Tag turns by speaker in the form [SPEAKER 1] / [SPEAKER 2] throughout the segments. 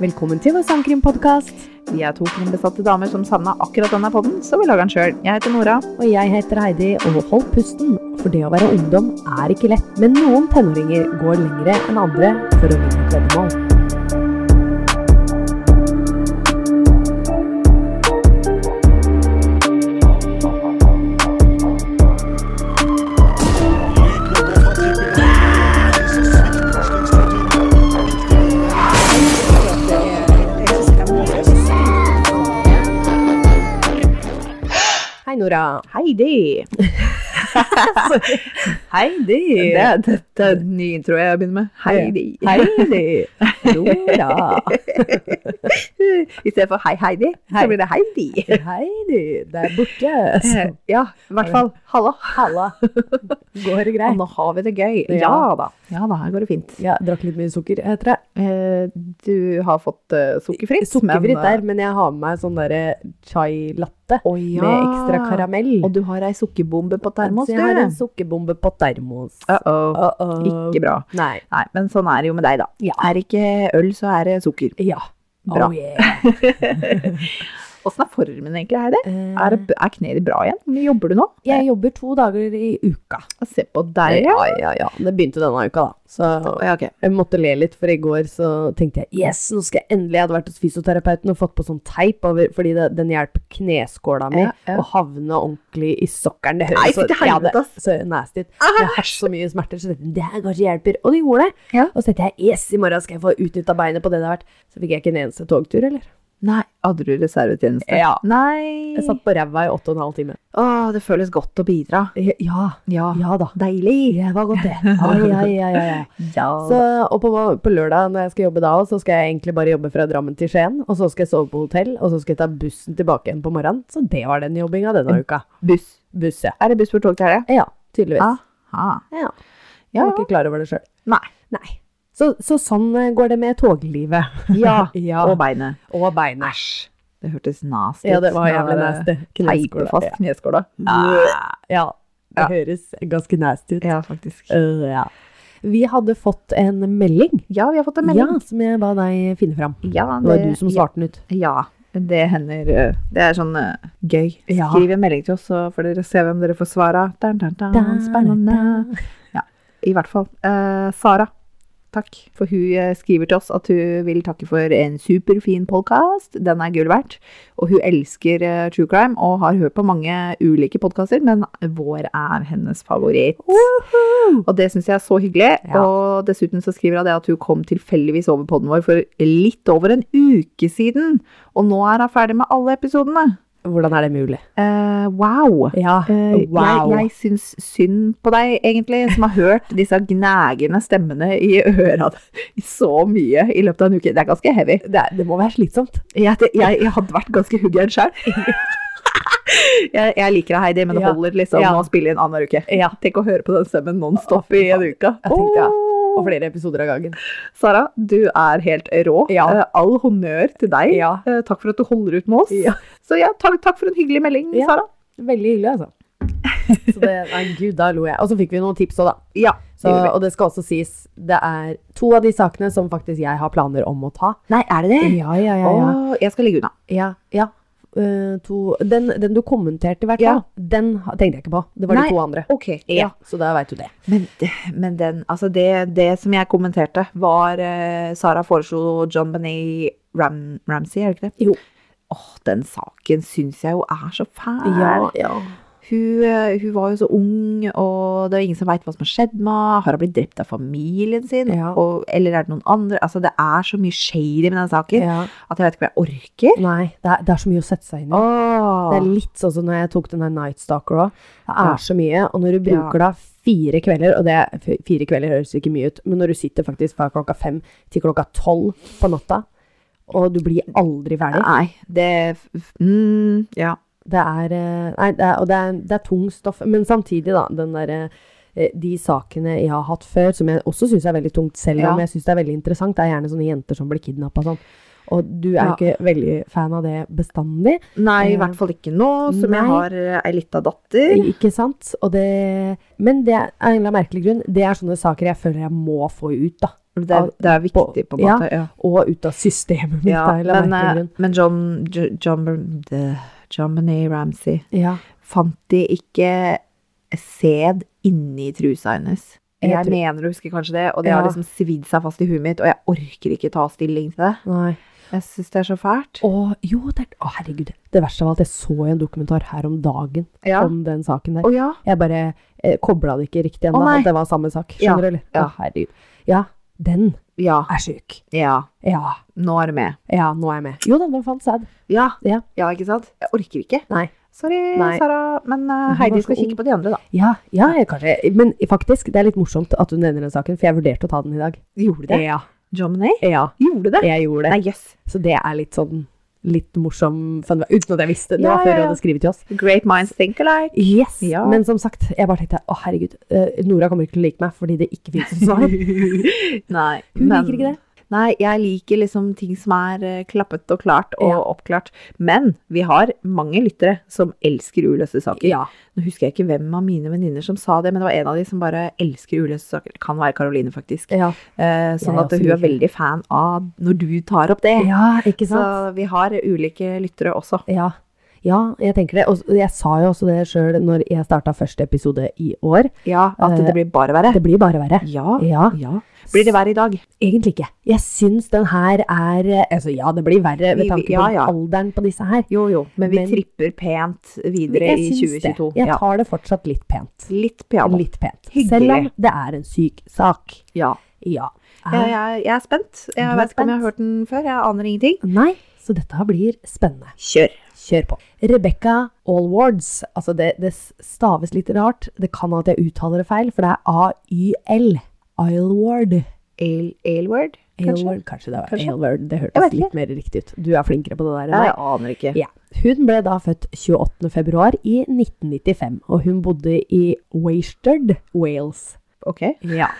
[SPEAKER 1] Velkommen til vår sangkrimpodkast.
[SPEAKER 2] Vi er to krimbesatte damer som savna akkurat denne podden, så vi lager den sjøl. Jeg heter Nora.
[SPEAKER 1] Og jeg heter Heidi, og hold pusten, for det å være ungdom er ikke lett. Men noen tenåringer går lengre enn andre for å vinne et veddemål. Hei, Nora.
[SPEAKER 2] Heidi.
[SPEAKER 1] Heidi.
[SPEAKER 2] Det er dette er den nye intro jeg begynner med. Heidi.
[SPEAKER 1] Heidi. Nora.
[SPEAKER 2] I stedet for hei, Heidi,
[SPEAKER 1] Hei.
[SPEAKER 2] så blir det Heidi.
[SPEAKER 1] Heidi, der borte. Så,
[SPEAKER 2] Ja, i hvert fall. Halla.
[SPEAKER 1] Halla. Går det
[SPEAKER 2] Og
[SPEAKER 1] greit?
[SPEAKER 2] nå har vi det gøy.
[SPEAKER 1] Ja.
[SPEAKER 2] Ja da. Ja da, her går det fint.
[SPEAKER 1] Ja, drakk litt mye sukker, heter det.
[SPEAKER 2] Eh, Du har fått eh, sukkerfritt.
[SPEAKER 1] Sukkerfritt
[SPEAKER 2] men, eh,
[SPEAKER 1] der, men jeg har med meg sånn derre chai latte
[SPEAKER 2] Å ja.
[SPEAKER 1] med ekstra karamell.
[SPEAKER 2] Og du har ei sukkerbombe på termos,
[SPEAKER 1] Så
[SPEAKER 2] du.
[SPEAKER 1] jeg har en sukkerbombe på termos.
[SPEAKER 2] Uh-oh.
[SPEAKER 1] Uh-oh.
[SPEAKER 2] Ikke bra.
[SPEAKER 1] Nei.
[SPEAKER 2] Nei, men sånn er det jo med deg, da.
[SPEAKER 1] Ja.
[SPEAKER 2] Er det ikke øl, så er det sukker.
[SPEAKER 1] Ja.
[SPEAKER 2] Bra.
[SPEAKER 1] Oh, yeah.
[SPEAKER 2] Åssen er formen egentlig, Heidi?
[SPEAKER 1] Eh,
[SPEAKER 2] Er, det- er kneet ditt bra igjen? Hvor mye jobber du nå?
[SPEAKER 1] jeg jobber to dager i uka.
[SPEAKER 2] Se på deg,
[SPEAKER 1] ja, ja, ja. Det begynte denne uka, da. Så
[SPEAKER 2] Å, ja, ok.
[SPEAKER 1] jeg måtte le litt, for i går så tenkte jeg yes, nå skal jeg endelig Jeg hadde vært hos fysioterapeuten og fått på sånn teip, over, fordi det, den hjelper kneskåla mi
[SPEAKER 2] Ja, ja.
[SPEAKER 1] å havne ordentlig i sokkelen. Det
[SPEAKER 2] Nei,
[SPEAKER 1] høres så,
[SPEAKER 2] til
[SPEAKER 1] ja,
[SPEAKER 2] helvete,
[SPEAKER 1] det-
[SPEAKER 2] ass. Ah.
[SPEAKER 1] så nasty ut. Jeg har så mye smerter, så tenkte jeg, det her kanskje hjelper. Og det gjorde det.
[SPEAKER 2] Ja.
[SPEAKER 1] Og så tenkte jeg yes, i morgen skal jeg få utnytta beinet på det det har vært. Så fikk jeg ikke en eneste togtur, eller?
[SPEAKER 2] Nei, hadde du reservetjeneste?
[SPEAKER 1] Ja.
[SPEAKER 2] Nei.
[SPEAKER 1] Jeg satt på ræva i åtte og en halv time.
[SPEAKER 2] Å, det føles godt å bidra.
[SPEAKER 1] Ja,
[SPEAKER 2] Ja.
[SPEAKER 1] ja da.
[SPEAKER 2] Deilig.
[SPEAKER 1] Det var godt, det. Ai, ai, ai, ai, ai.
[SPEAKER 2] Ja.
[SPEAKER 1] Så, og på, på lørdag når jeg skal jobbe da også, så skal jeg egentlig bare jobbe fra Drammen til Skien, og så skal jeg sove på hotell, og så skal jeg ta bussen tilbake igjen på morgenen. Så det var den jobbinga denne uka.
[SPEAKER 2] buss.
[SPEAKER 1] Buss, ja.
[SPEAKER 2] Er det buss for tog til helga?
[SPEAKER 1] Ja, tydeligvis.
[SPEAKER 2] Aha.
[SPEAKER 1] Ja. Jeg
[SPEAKER 2] Ah, Ja.
[SPEAKER 1] var ikke klar over det sjøl.
[SPEAKER 2] Nei.
[SPEAKER 1] Nei. Så, så sånn eh, går det med toglivet.
[SPEAKER 2] Ja.
[SPEAKER 1] Ja.
[SPEAKER 2] Og beinet.
[SPEAKER 1] Og beinet.
[SPEAKER 2] Æsj. Det hørtes nasty ut.
[SPEAKER 1] Ja, det var
[SPEAKER 2] Den
[SPEAKER 1] jævlig
[SPEAKER 2] der,
[SPEAKER 1] nasty.
[SPEAKER 2] Teipe
[SPEAKER 1] Kneskåla.
[SPEAKER 2] fast kneskåla.
[SPEAKER 1] Ja. Ah, ja. Det
[SPEAKER 2] Ja.
[SPEAKER 1] høres ganske nasty ut.
[SPEAKER 2] Ja, faktisk.
[SPEAKER 1] Øh, ja. Vi hadde fått en melding,
[SPEAKER 2] Ja, vi har fått en
[SPEAKER 1] ja,
[SPEAKER 2] melding.
[SPEAKER 1] som jeg ba deg finne fram.
[SPEAKER 2] Ja,
[SPEAKER 1] Det var du som
[SPEAKER 2] ja.
[SPEAKER 1] svarte den ut.
[SPEAKER 2] Ja, det hender. eh, Det er sånn eh, gøy.
[SPEAKER 1] Ja.
[SPEAKER 2] Skriv en melding til oss, så får dere se hvem dere får svare. av. Dun, dun, dun, spennende. I hvert fall. eh, Sara, takk. For hun eh, skriver til oss at hun vil takke for en superfin podkast. Den er gull verdt. Og hun elsker eh, true crime og har hørt på mange ulike podkaster, men vår er hennes favoritt. Og det syns jeg er så hyggelig.
[SPEAKER 1] Ja.
[SPEAKER 2] Og dessuten så skriver hun det at hun kom tilfeldigvis over podden vår for litt over en uke siden. Og nå er hun ferdig med alle episodene.
[SPEAKER 1] Hvordan er det mulig?
[SPEAKER 2] Eh, wow!
[SPEAKER 1] Ja,
[SPEAKER 2] Eh,
[SPEAKER 1] wow.
[SPEAKER 2] Jeg, jeg syns synd på deg, egentlig, som har hørt disse gnagende stemmene i øra i så mye i løpet av en uke. Det er ganske heavy.
[SPEAKER 1] det, er- det må være slitsomt.
[SPEAKER 2] Jeg, jeg, jeg hadde vært ganske huggeren sjøl. Jeg, jeg liker deg, Heidi, men det
[SPEAKER 1] Ja.
[SPEAKER 2] holder liksom
[SPEAKER 1] Ja.
[SPEAKER 2] å spille inn annenhver uke.
[SPEAKER 1] Ja.
[SPEAKER 2] Tenk å høre på den stemmen nonstop i en uke.
[SPEAKER 1] Jeg tenkte, ja.
[SPEAKER 2] Åh.
[SPEAKER 1] Og flere episoder av gangen.
[SPEAKER 2] Sara, du er helt rå.
[SPEAKER 1] Ja.
[SPEAKER 2] Eh, All honnør til deg.
[SPEAKER 1] Ja.
[SPEAKER 2] Eh, Takk for at du holder ut med oss.
[SPEAKER 1] Ja.
[SPEAKER 2] Så ja, takk, takk for en hyggelig melding,
[SPEAKER 1] Ja.
[SPEAKER 2] Sara.
[SPEAKER 1] Veldig hyggelig, altså. Så det, nei, gud, da lo jeg. Og så fikk vi noen tips òg, da.
[SPEAKER 2] Ja.
[SPEAKER 1] Så,
[SPEAKER 2] det gjorde vi.
[SPEAKER 1] og det skal også sies, det er to av de sakene som faktisk jeg har planer om å ta.
[SPEAKER 2] Nei, er det det?
[SPEAKER 1] Ja, ja, ja. ja.
[SPEAKER 2] Åh, jeg skal ligge unna.
[SPEAKER 1] ja, ja. Eh, to, den, den du kommenterte i hvert
[SPEAKER 2] Ja.
[SPEAKER 1] fall, den ha- tenkte jeg ikke på. Det var
[SPEAKER 2] Nei.
[SPEAKER 1] de to andre.
[SPEAKER 2] Ok, ja.
[SPEAKER 1] Så da veit du det.
[SPEAKER 2] Men, det- men den, altså det, det som jeg kommenterte, var eh, Sara foreslo John Benet Ram, Ramsey, er det ikke det?
[SPEAKER 1] Jo.
[SPEAKER 2] Åh, den saken syns jeg jo er så fæl.
[SPEAKER 1] Ja, ja.
[SPEAKER 2] Hun, eh, hun var jo så ung, og det er ingen som veit hva som har skjedd med henne. Har hun blitt drept av familien sin?
[SPEAKER 1] Ja.
[SPEAKER 2] Og, eller er det noen andre? Altså, det er så mye shady med den saken
[SPEAKER 1] ja.
[SPEAKER 2] at jeg vet ikke om jeg orker.
[SPEAKER 1] Nei, det er, det er så mye å sette seg inn i. Det er
[SPEAKER 2] Åh.
[SPEAKER 1] litt sånn som når jeg tok den der Night Stalker òg. Det er
[SPEAKER 2] Ja.
[SPEAKER 1] så mye, og når du bruker da fire kvelder, og det f- fire kvelder høres ikke mye ut, men når du sitter faktisk fra klokka fem til klokka tolv på natta, og du blir aldri ferdig,
[SPEAKER 2] Nei, det mm, Ja.
[SPEAKER 1] det er, eh, nei, det er, og det er, det er tung stoff. Men samtidig, da, den der, eh, de sakene jeg har hatt før, som jeg også syns er veldig tungt, selv
[SPEAKER 2] Ja.
[SPEAKER 1] om jeg syns det er veldig interessant, det er gjerne sånne jenter som blir kidnappa sånn. Og du er
[SPEAKER 2] Ja.
[SPEAKER 1] ikke veldig fan av det bestandig.
[SPEAKER 2] Nei, i
[SPEAKER 1] Eh,
[SPEAKER 2] hvert fall ikke nå, som
[SPEAKER 1] nei.
[SPEAKER 2] jeg har eh, ei lita datter.
[SPEAKER 1] Ikke sant? Og det, men det er av en eller annen merkelig grunn. Det er sånne saker jeg føler jeg må få ut, da.
[SPEAKER 2] Det, er- det er viktig, på en
[SPEAKER 1] Ja.
[SPEAKER 2] måte. Ja.
[SPEAKER 1] Og ut av systemet mitt,
[SPEAKER 2] Ja,
[SPEAKER 1] da, eller
[SPEAKER 2] men,
[SPEAKER 1] merkelig
[SPEAKER 2] eh,
[SPEAKER 1] grunn.
[SPEAKER 2] men John, Jo- John, Bern- de- John Benet Ramsey
[SPEAKER 1] Ja.
[SPEAKER 2] Fant de ikke sæd inni trusa hennes?
[SPEAKER 1] Jeg
[SPEAKER 2] Jeg
[SPEAKER 1] tror-
[SPEAKER 2] mener å huske kanskje det, og det har
[SPEAKER 1] Ja.
[SPEAKER 2] liksom svidd seg fast i huet mitt, og jeg orker ikke ta stilling til det.
[SPEAKER 1] Nei.
[SPEAKER 2] Jeg syns det er så fælt.
[SPEAKER 1] Og jo, det er Å, herregud. Det verste av alt, jeg så jo en dokumentar her om dagen
[SPEAKER 2] Ja.
[SPEAKER 1] om den saken der.
[SPEAKER 2] Å ja.
[SPEAKER 1] Jeg bare eh, kobla det ikke riktig ennå,
[SPEAKER 2] Å, nei.
[SPEAKER 1] at det var samme sak.
[SPEAKER 2] Ja,
[SPEAKER 1] Skjønner du, eller?
[SPEAKER 2] ja.
[SPEAKER 1] Å, herregud. Ja, den
[SPEAKER 2] Ja.
[SPEAKER 1] er sjuk.
[SPEAKER 2] Ja.
[SPEAKER 1] Ja.
[SPEAKER 2] Nå er det med.
[SPEAKER 1] Ja, nå er jeg med. Jo da, den fant sæd.
[SPEAKER 2] Ja.
[SPEAKER 1] Ja.
[SPEAKER 2] ikke sant? Jeg orker ikke.
[SPEAKER 1] Nei.
[SPEAKER 2] Sorry,
[SPEAKER 1] Nei.
[SPEAKER 2] Sara, men eh,
[SPEAKER 1] var
[SPEAKER 2] Heidi
[SPEAKER 1] så
[SPEAKER 2] skal
[SPEAKER 1] ung.
[SPEAKER 2] kikke på de andre, da.
[SPEAKER 1] Ja, ja, jeg kanskje. Men faktisk, det er litt morsomt at du nevner den saken, for jeg vurderte å ta den i dag.
[SPEAKER 2] Gjorde det?
[SPEAKER 1] Ja.
[SPEAKER 2] John Benet
[SPEAKER 1] Ja,
[SPEAKER 2] gjorde det?
[SPEAKER 1] jeg gjorde det.
[SPEAKER 2] Nei, jøss. Yes.
[SPEAKER 1] Så det er litt sånn litt morsom fun fact, uten at jeg visste det. Det
[SPEAKER 2] Ja,
[SPEAKER 1] var før
[SPEAKER 2] ja,
[SPEAKER 1] du
[SPEAKER 2] ja.
[SPEAKER 1] hadde skrevet til oss.
[SPEAKER 2] Great minds think alike.
[SPEAKER 1] Yes,
[SPEAKER 2] Ja.
[SPEAKER 1] Men som sagt, jeg bare tenkte å herregud, eh, Nora kommer ikke til å like meg fordi det ikke finnes noe svar.
[SPEAKER 2] Nei,
[SPEAKER 1] Hun liker ikke det.
[SPEAKER 2] Nei, jeg liker liksom ting som er eh, klappet og klart og
[SPEAKER 1] Ja.
[SPEAKER 2] oppklart. Men vi har mange lyttere som elsker uløste saker. Nå husker jeg ikke hvem av mine venninner som sa det, men det var en av de som bare elsker uløste saker. Det kan være Karoline, faktisk.
[SPEAKER 1] Ja.
[SPEAKER 2] Eh, sånn
[SPEAKER 1] Jeg
[SPEAKER 2] at
[SPEAKER 1] også
[SPEAKER 2] hun er
[SPEAKER 1] liker
[SPEAKER 2] veldig fan av når du tar opp det.
[SPEAKER 1] ja, ikke
[SPEAKER 2] Så
[SPEAKER 1] sant?
[SPEAKER 2] vi har ulike lyttere også.
[SPEAKER 1] Ja. ja, jeg tenker det. Og jeg sa jo også det sjøl når jeg starta første episode i år.
[SPEAKER 2] Ja, At
[SPEAKER 1] Eh,
[SPEAKER 2] det blir bare verre.
[SPEAKER 1] Det blir bare verre.
[SPEAKER 2] Ja.
[SPEAKER 1] Ja,
[SPEAKER 2] ja. Blir det verre i dag?
[SPEAKER 1] egentlig ikke. Jeg syns den her er eh, Altså ja, det blir verre
[SPEAKER 2] Vi- vi-
[SPEAKER 1] med tanke
[SPEAKER 2] ja,
[SPEAKER 1] på
[SPEAKER 2] ja.
[SPEAKER 1] alderen på disse her.
[SPEAKER 2] Jo, jo. Men vi
[SPEAKER 1] Men-
[SPEAKER 2] tripper pent videre
[SPEAKER 1] Jeg
[SPEAKER 2] i
[SPEAKER 1] syns det.
[SPEAKER 2] 2022.
[SPEAKER 1] Jeg
[SPEAKER 2] Ja.
[SPEAKER 1] tar det fortsatt litt pent.
[SPEAKER 2] Litt piano.
[SPEAKER 1] Litt pent.
[SPEAKER 2] Hyggelig.
[SPEAKER 1] Selv om det er en syk sak.
[SPEAKER 2] Ja.
[SPEAKER 1] Ja.
[SPEAKER 2] Jeg, jeg, jeg er spent. Jeg
[SPEAKER 1] Du er
[SPEAKER 2] vet ikke om jeg
[SPEAKER 1] spent?
[SPEAKER 2] har hørt den før. Jeg aner ingenting.
[SPEAKER 1] Eh, Nei, så dette her blir spennende.
[SPEAKER 2] Kjør.
[SPEAKER 1] Kjør på. Rebecca Allwards. Altså det, det staves litt rart. Det kan at jeg uttaler det feil, for det er AYL. Isleward.
[SPEAKER 2] Aylward, kanskje?
[SPEAKER 1] Aylward, kanskje det var
[SPEAKER 2] Kanskje?
[SPEAKER 1] Aylward. Det
[SPEAKER 2] Jeg vet
[SPEAKER 1] hørtes litt mer riktig ut. Du er flinkere på det der enn
[SPEAKER 2] Ja,
[SPEAKER 1] meg.
[SPEAKER 2] jeg aner ikke.
[SPEAKER 1] Ja. Hun ble da født 28. februar i 1995, og hun bodde i Wasted, Wales.
[SPEAKER 2] Ok.
[SPEAKER 1] Ja.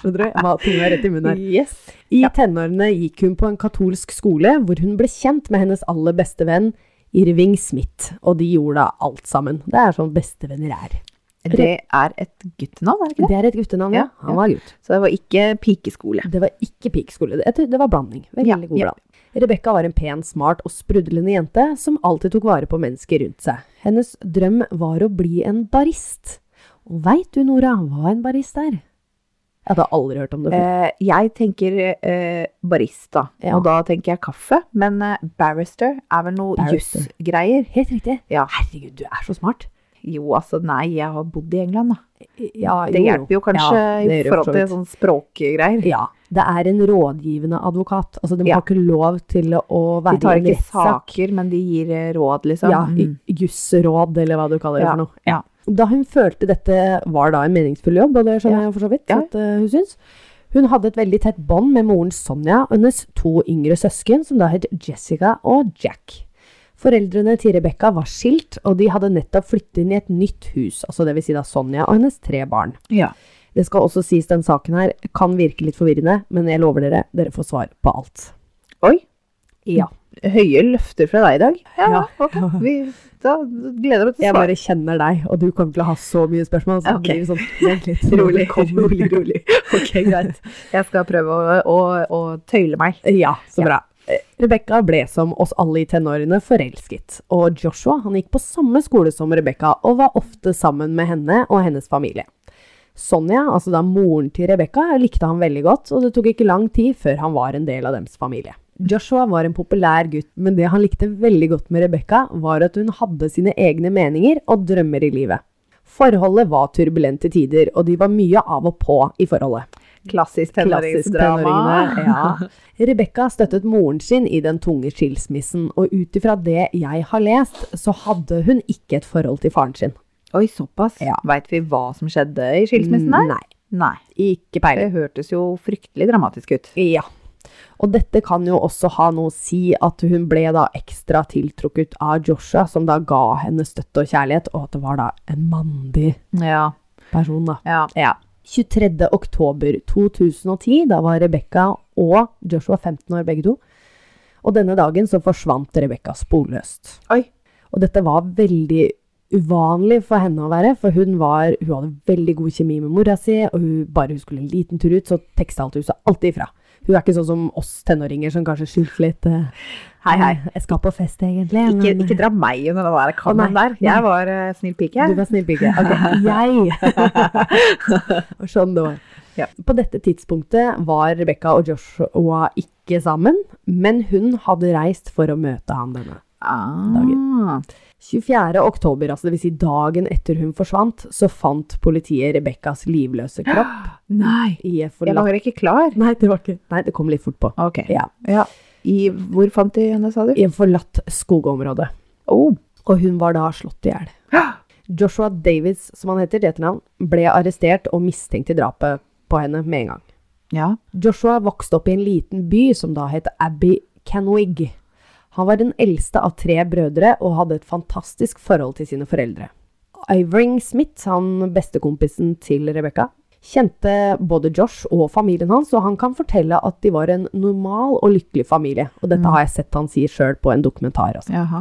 [SPEAKER 1] Skjønner du? Jeg må ha tunga rett i munnen her.
[SPEAKER 2] Yes.
[SPEAKER 1] I tenårene gikk hun på en katolsk skole, hvor hun ble kjent med hennes aller beste venn, Irving Smith, og de gjorde da alt sammen. Det er sånn bestevenner er.
[SPEAKER 2] Det er et guttenavn, er det ikke det?
[SPEAKER 1] Det er et guttenavn, ja.
[SPEAKER 2] Ja, ja.
[SPEAKER 1] Han var gutt.
[SPEAKER 2] Så det var ikke pikeskole.
[SPEAKER 1] Det var ikke pikeskole, det- jeg tror det var blanding. Veldig
[SPEAKER 2] Ja,
[SPEAKER 1] god
[SPEAKER 2] ja.
[SPEAKER 1] blanding. Rebekka var en pen, smart og sprudlende jente som alltid tok vare på mennesker rundt seg. Hennes drøm var å bli en barist. Og veit du, Nora, hva en barist er? Jeg hadde aldri hørt om det før.
[SPEAKER 2] Eh, jeg tenker eh, barista,
[SPEAKER 1] Ja.
[SPEAKER 2] og da tenker jeg kaffe. Men eh, barrister er vel noe
[SPEAKER 1] Barrister.
[SPEAKER 2] jussgreier?
[SPEAKER 1] Helt riktig.
[SPEAKER 2] Ja.
[SPEAKER 1] Herregud, du er så smart.
[SPEAKER 2] Jo, altså nei, jeg har bodd i England, da.
[SPEAKER 1] Ja,
[SPEAKER 2] Det hjelper jo kanskje
[SPEAKER 1] Ja, det gjør
[SPEAKER 2] i
[SPEAKER 1] jo for
[SPEAKER 2] forhold
[SPEAKER 1] så
[SPEAKER 2] til
[SPEAKER 1] vidt.
[SPEAKER 2] sånn språkgreier.
[SPEAKER 1] Ja, det er en rådgivende advokat. Altså, de
[SPEAKER 2] Ja.
[SPEAKER 1] har ikke lov til å
[SPEAKER 2] De
[SPEAKER 1] være
[SPEAKER 2] tar
[SPEAKER 1] i en
[SPEAKER 2] ikke
[SPEAKER 1] rettssak.
[SPEAKER 2] saker, men de gir eh, råd, liksom.
[SPEAKER 1] Ja,
[SPEAKER 2] Mm.
[SPEAKER 1] i- jussråd, eller hva du kaller det for
[SPEAKER 2] Ja,
[SPEAKER 1] noe.
[SPEAKER 2] ja.
[SPEAKER 1] Da hun følte dette var da en meningsfull jobb, og det skjønner jeg for så vidt
[SPEAKER 2] Ja.
[SPEAKER 1] at eh, hun syns, hun hadde et veldig tett bånd med moren Sonja og hennes to yngre søsken, som da het Jessica og Jack. Foreldrene til Rebekka var skilt, og de hadde nettopp flyttet inn i et nytt hus, altså det vil si da Sonja og hennes tre barn.
[SPEAKER 2] ja.
[SPEAKER 1] Det skal også sies den saken her kan virke litt forvirrende, men jeg lover dere, dere får svar på alt.
[SPEAKER 2] Oi.
[SPEAKER 1] Ja.
[SPEAKER 2] Høye løfter fra deg i dag.
[SPEAKER 1] Ja.
[SPEAKER 2] ok. Vi, da gleder vi oss til
[SPEAKER 1] Jeg
[SPEAKER 2] svar.
[SPEAKER 1] bare kjenner deg, og du kommer til å ha så mye spørsmål. Så
[SPEAKER 2] Ok.
[SPEAKER 1] det blir sånn, vent litt,
[SPEAKER 2] Rolig,
[SPEAKER 1] kommer
[SPEAKER 2] rolig, rolig. Ok, greit. Jeg skal prøve å, å, å tøyle meg.
[SPEAKER 1] Ja, så bra. Rebekka ble som oss alle i tenårene forelsket, og Joshua han gikk på samme skole som Rebekka og var ofte sammen med henne og hennes familie. Sonja, altså da moren til Rebekka, likte han veldig godt, og det tok ikke lang tid før han var en del av deres familie. Joshua var en populær gutt, men det han likte veldig godt med Rebekka, var at hun hadde sine egne meninger og drømmer i livet. Forholdet var turbulent til tider, og de var mye av og på i forholdet.
[SPEAKER 2] Klassisk
[SPEAKER 1] Klassisk tenåringene.
[SPEAKER 2] tenåringsdrama.
[SPEAKER 1] Ja. Rebekka støttet moren sin i den tunge skilsmissen, og ut ifra det jeg har lest, så hadde hun ikke et forhold til faren sin.
[SPEAKER 2] Oi, såpass.
[SPEAKER 1] Ja.
[SPEAKER 2] Veit vi hva som skjedde i skilsmissen her?
[SPEAKER 1] Nei,
[SPEAKER 2] Nei.
[SPEAKER 1] ikke peiling.
[SPEAKER 2] Det hørtes jo fryktelig dramatisk ut.
[SPEAKER 1] Ja. Og dette kan jo også ha noe å si at hun ble da ekstra tiltrukket av Joshua, som da ga henne støtte og kjærlighet, og at det var da en mandig
[SPEAKER 2] Ja.
[SPEAKER 1] person, da.
[SPEAKER 2] ja.
[SPEAKER 1] Ja. 23. oktober 2010, da var Rebekka og Joshua 15 år begge to. Og denne dagen så forsvant Rebekka sporløst.
[SPEAKER 2] Oi.
[SPEAKER 1] Og dette var veldig uvanlig for henne å være, for hun, var, hun hadde veldig god kjemi med mora si, og hun, bare hun skulle en liten tur ut, så teksta alt huset alltid ifra. Hun er ikke sånn som oss tenåringer som kanskje skyldte litt eh,
[SPEAKER 2] Hei, hei.
[SPEAKER 1] Jeg skal på fest, egentlig.
[SPEAKER 2] Ikke,
[SPEAKER 1] men-
[SPEAKER 2] ikke dra meg under den der
[SPEAKER 1] Å,
[SPEAKER 2] kannen
[SPEAKER 1] nei.
[SPEAKER 2] der. Jeg var eh, snill pike.
[SPEAKER 1] Du var snill pike. Ok, jeg. Og sånn det var.
[SPEAKER 2] Ja.
[SPEAKER 1] På dette tidspunktet var Rebekka og Joshua ikke sammen, men hun hadde reist for å møte han denne.
[SPEAKER 2] Ah.
[SPEAKER 1] 24. oktober, altså dvs. Si dagen etter hun forsvant, så fant politiet Rebekkas livløse kropp
[SPEAKER 2] Nei.
[SPEAKER 1] i en
[SPEAKER 2] Jeg
[SPEAKER 1] forlatt
[SPEAKER 2] var ikke klar.
[SPEAKER 1] Nei, det var ikke Nei, det kom litt fort på.
[SPEAKER 2] Ok.
[SPEAKER 1] Ja.
[SPEAKER 2] Ja. I, hvor fant de henne, sa du?
[SPEAKER 1] I en forlatt skogområde.
[SPEAKER 2] Oh.
[SPEAKER 1] Og hun var da slått i hjel. Joshua Davies, som han heter til etternavn, ble arrestert og mistenkt i drapet på henne med en gang.
[SPEAKER 2] Ja.
[SPEAKER 1] Joshua vokste opp i en liten by som da het Abbey Canwig. Han var den eldste av tre brødre og hadde et fantastisk forhold til sine foreldre. Ivring Smith, han bestekompisen til Rebekka, kjente både Josh og familien hans, og han kan fortelle at de var en normal og lykkelig familie. Og dette har jeg sett han si sjøl på en dokumentar. Altså.
[SPEAKER 2] Jaha.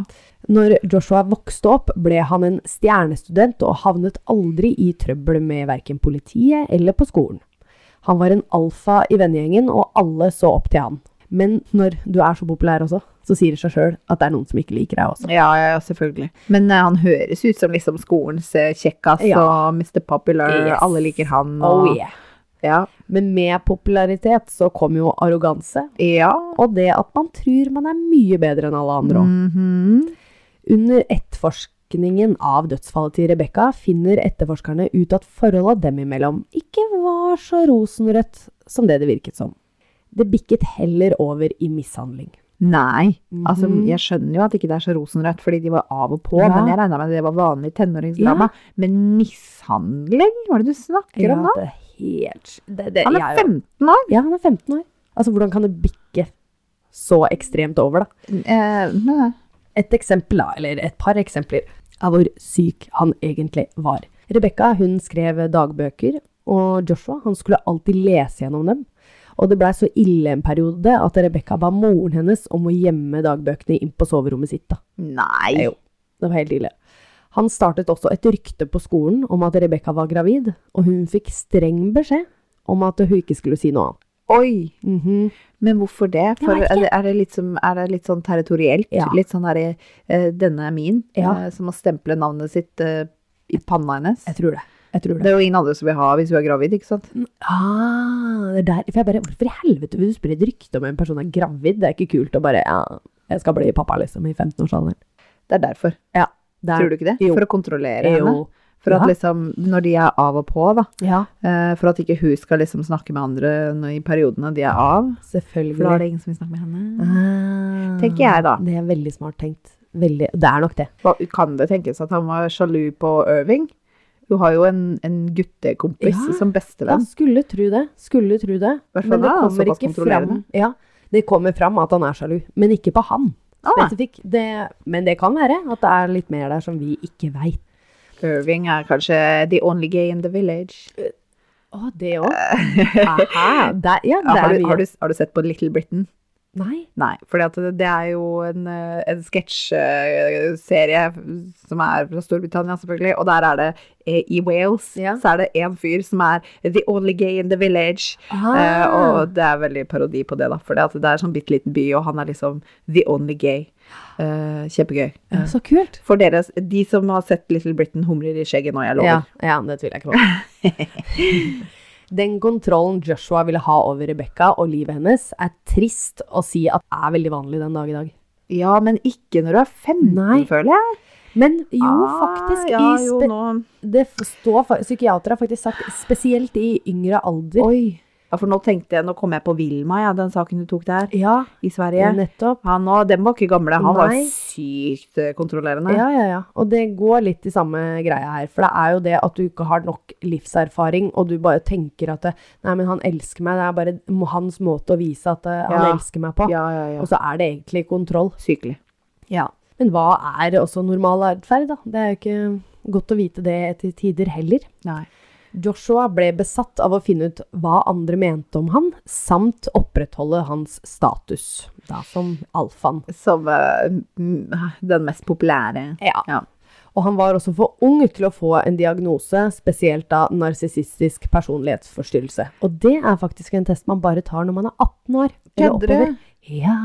[SPEAKER 1] Når Joshua vokste opp, ble han en stjernestudent og havnet aldri i trøbbel med verken politiet eller på skolen. Han var en alfa i vennegjengen, og alle så opp til han. Men når du er så populær også, så sier det seg sjøl at det er noen som ikke liker deg også.
[SPEAKER 2] Ja, ja, ja, selvfølgelig. Men eh, han høres ut som liksom skolens eh, kjekkas
[SPEAKER 1] Ja.
[SPEAKER 2] og Mr. Popular.
[SPEAKER 1] Yes.
[SPEAKER 2] Alle liker han.
[SPEAKER 1] Oh
[SPEAKER 2] Og,
[SPEAKER 1] yeah.
[SPEAKER 2] ja.
[SPEAKER 1] Men med popularitet så kom jo arroganse,
[SPEAKER 2] ja.
[SPEAKER 1] og det at man tror man er mye bedre enn alle andre òg.
[SPEAKER 2] Mhm.
[SPEAKER 1] Under etterforskningen av dødsfallet til Rebekka finner etterforskerne ut at forholdet dem imellom ikke var så rosenrødt som det det virket som. Det bikket heller over i mishandling.
[SPEAKER 2] Nei. Altså,
[SPEAKER 1] Mhm.
[SPEAKER 2] jeg skjønner jo at ikke det er så rosenrødt, fordi de var av og på,
[SPEAKER 1] Ja.
[SPEAKER 2] men jeg regna med at det var vanlig tenåringsdrama. Men mishandling? Hva er det du snakker om da?
[SPEAKER 1] det er helt det, det,
[SPEAKER 2] Han
[SPEAKER 1] jeg-
[SPEAKER 2] er 15 år!
[SPEAKER 1] Ja, han er 15 år. Altså, hvordan kan det bikke så ekstremt over, da?
[SPEAKER 2] Eh, nei.
[SPEAKER 1] et eksempel, da, eller et par eksempler, av hvor syk han egentlig var. Rebekka hun skrev dagbøker, og Joshua han skulle alltid lese gjennom dem. Og det blei så ille en periode at Rebekka ba moren hennes om å gjemme dagbøkene inn på soverommet sitt. da.
[SPEAKER 2] Nei.
[SPEAKER 1] Jo, det var helt ille. Han startet også et rykte på skolen om at Rebekka var gravid, og hun fikk streng beskjed om at hun ikke skulle si noe annet.
[SPEAKER 2] Oi!
[SPEAKER 1] Mhm.
[SPEAKER 2] Men hvorfor det? For
[SPEAKER 1] vet
[SPEAKER 2] er det, er, det litt som, er det litt sånn territorielt?
[SPEAKER 1] Ja.
[SPEAKER 2] Litt sånn derre 'denne er min',
[SPEAKER 1] Ja.
[SPEAKER 2] eh, som å stemple navnet sitt eh, i panna hennes?
[SPEAKER 1] Jeg tror det. Jeg tror det.
[SPEAKER 2] Det er jo ingen andre som vil ha hvis hun er gravid, ikke sant?
[SPEAKER 1] Ah, det er der. For jeg bare, hvorfor i helvete vil du spre et rykte om en person er gravid? Det er ikke kult å bare, ja, jeg skal bli pappa liksom i 15-årsalderen.
[SPEAKER 2] Det er derfor.
[SPEAKER 1] Ja, det er-
[SPEAKER 2] Tror du ikke det?
[SPEAKER 1] Jo.
[SPEAKER 2] For å kontrollere henne.
[SPEAKER 1] Jo.
[SPEAKER 2] For at
[SPEAKER 1] Ja.
[SPEAKER 2] liksom, når de er av og på, da.
[SPEAKER 1] Ja,
[SPEAKER 2] eh, For at ikke hun skal liksom snakke med andre når- i periodene de er av. For da er
[SPEAKER 1] selvfølgelig.
[SPEAKER 2] det ingen som vil snakke med henne.
[SPEAKER 1] Ah,
[SPEAKER 2] Tenker jeg da.
[SPEAKER 1] Det er veldig smart tenkt. Veldig, det er nok det.
[SPEAKER 2] Hva- Kan det tenkes at han var sjalu på Irving? Hun har jo en, en guttekompis
[SPEAKER 1] Ja.
[SPEAKER 2] som
[SPEAKER 1] Ja,
[SPEAKER 2] bestevenn.
[SPEAKER 1] skulle tro det. Skulle tro det.
[SPEAKER 2] Hvert fall
[SPEAKER 1] Men det
[SPEAKER 2] da,
[SPEAKER 1] kommer
[SPEAKER 2] såpass
[SPEAKER 1] ikke fram.
[SPEAKER 2] kontrollerende.
[SPEAKER 1] Ja, det kommer fram at han er sjalu, men ikke på han.
[SPEAKER 2] Ah, nei.
[SPEAKER 1] Spesifikk. Det, men det kan være at det er litt mer der som vi ikke vet.
[SPEAKER 2] Irving er kanskje the only gay in the village.
[SPEAKER 1] Å, det også? Aha, der, ja,
[SPEAKER 2] Ja,
[SPEAKER 1] det
[SPEAKER 2] har,
[SPEAKER 1] er
[SPEAKER 2] du,
[SPEAKER 1] mye.
[SPEAKER 2] har, du, har du sett på Little Britain?
[SPEAKER 1] Nei.
[SPEAKER 2] Nei, for det, det er jo en, eh, en sketsjserie som er fra Storbritannia, selvfølgelig. Og der er det eh, i Wales
[SPEAKER 1] Ja.
[SPEAKER 2] så er det en fyr som er the only gay in the village. Eh,
[SPEAKER 1] Ah.
[SPEAKER 2] og det er veldig parodi på det, da. For det, at det er en sånn bitte liten by, og han er liksom the only gay. Eh, kjempegøy.
[SPEAKER 1] Ja, så kult.
[SPEAKER 2] For dere, de som har sett Little Britain, humrer i skjegget nå, jeg lover.
[SPEAKER 1] Ja, ja, det tviler jeg ikke på. Den kontrollen Joshua ville ha over Rebekka og livet hennes, er trist å si at er veldig vanlig den dag i dag.
[SPEAKER 2] Ja, men ikke når du er 15,
[SPEAKER 1] Nei.
[SPEAKER 2] føler jeg.
[SPEAKER 1] Men jo,
[SPEAKER 2] Ah,
[SPEAKER 1] faktisk.
[SPEAKER 2] Ja,
[SPEAKER 1] i
[SPEAKER 2] jo,
[SPEAKER 1] spe
[SPEAKER 2] nå...
[SPEAKER 1] det f- står, fa- psykiatere har faktisk sagt spesielt i yngre alder.
[SPEAKER 2] Oi. Ja, for nå tenkte jeg, nå kom jeg på Vilma, ja, den saken du tok der
[SPEAKER 1] Ja,
[SPEAKER 2] i Sverige.
[SPEAKER 1] nettopp.
[SPEAKER 2] Han og den var ikke gamle, han var
[SPEAKER 1] Nei.
[SPEAKER 2] sykt eh, kontrollerende.
[SPEAKER 1] Ja, ja, ja. Og det går litt i samme greia her. For det er jo det at du ikke har nok livserfaring, og du bare tenker at det, Nei, men han elsker meg. Det er bare m- hans måte å vise at eh, han
[SPEAKER 2] Ja.
[SPEAKER 1] elsker meg på.
[SPEAKER 2] ja, ja. ja.
[SPEAKER 1] Og så er det egentlig kontroll.
[SPEAKER 2] Sykelig.
[SPEAKER 1] Men hva er også normal atferd, da? Det er jo ikke godt å vite det til tider heller.
[SPEAKER 2] Nei.
[SPEAKER 1] Joshua ble besatt av å finne ut hva andre mente om han, samt opprettholde hans status, da som alfaen.
[SPEAKER 2] Som eh, m- den mest populære.
[SPEAKER 1] Ja.
[SPEAKER 2] Ja.
[SPEAKER 1] Og Og han var også for ung til å få en diagnose, spesielt da narsissistisk personlighetsforstyrrelse. Og det er faktisk en test man bare tar når man er 18 år. eller
[SPEAKER 2] Kødder du?
[SPEAKER 1] oppover. Ja.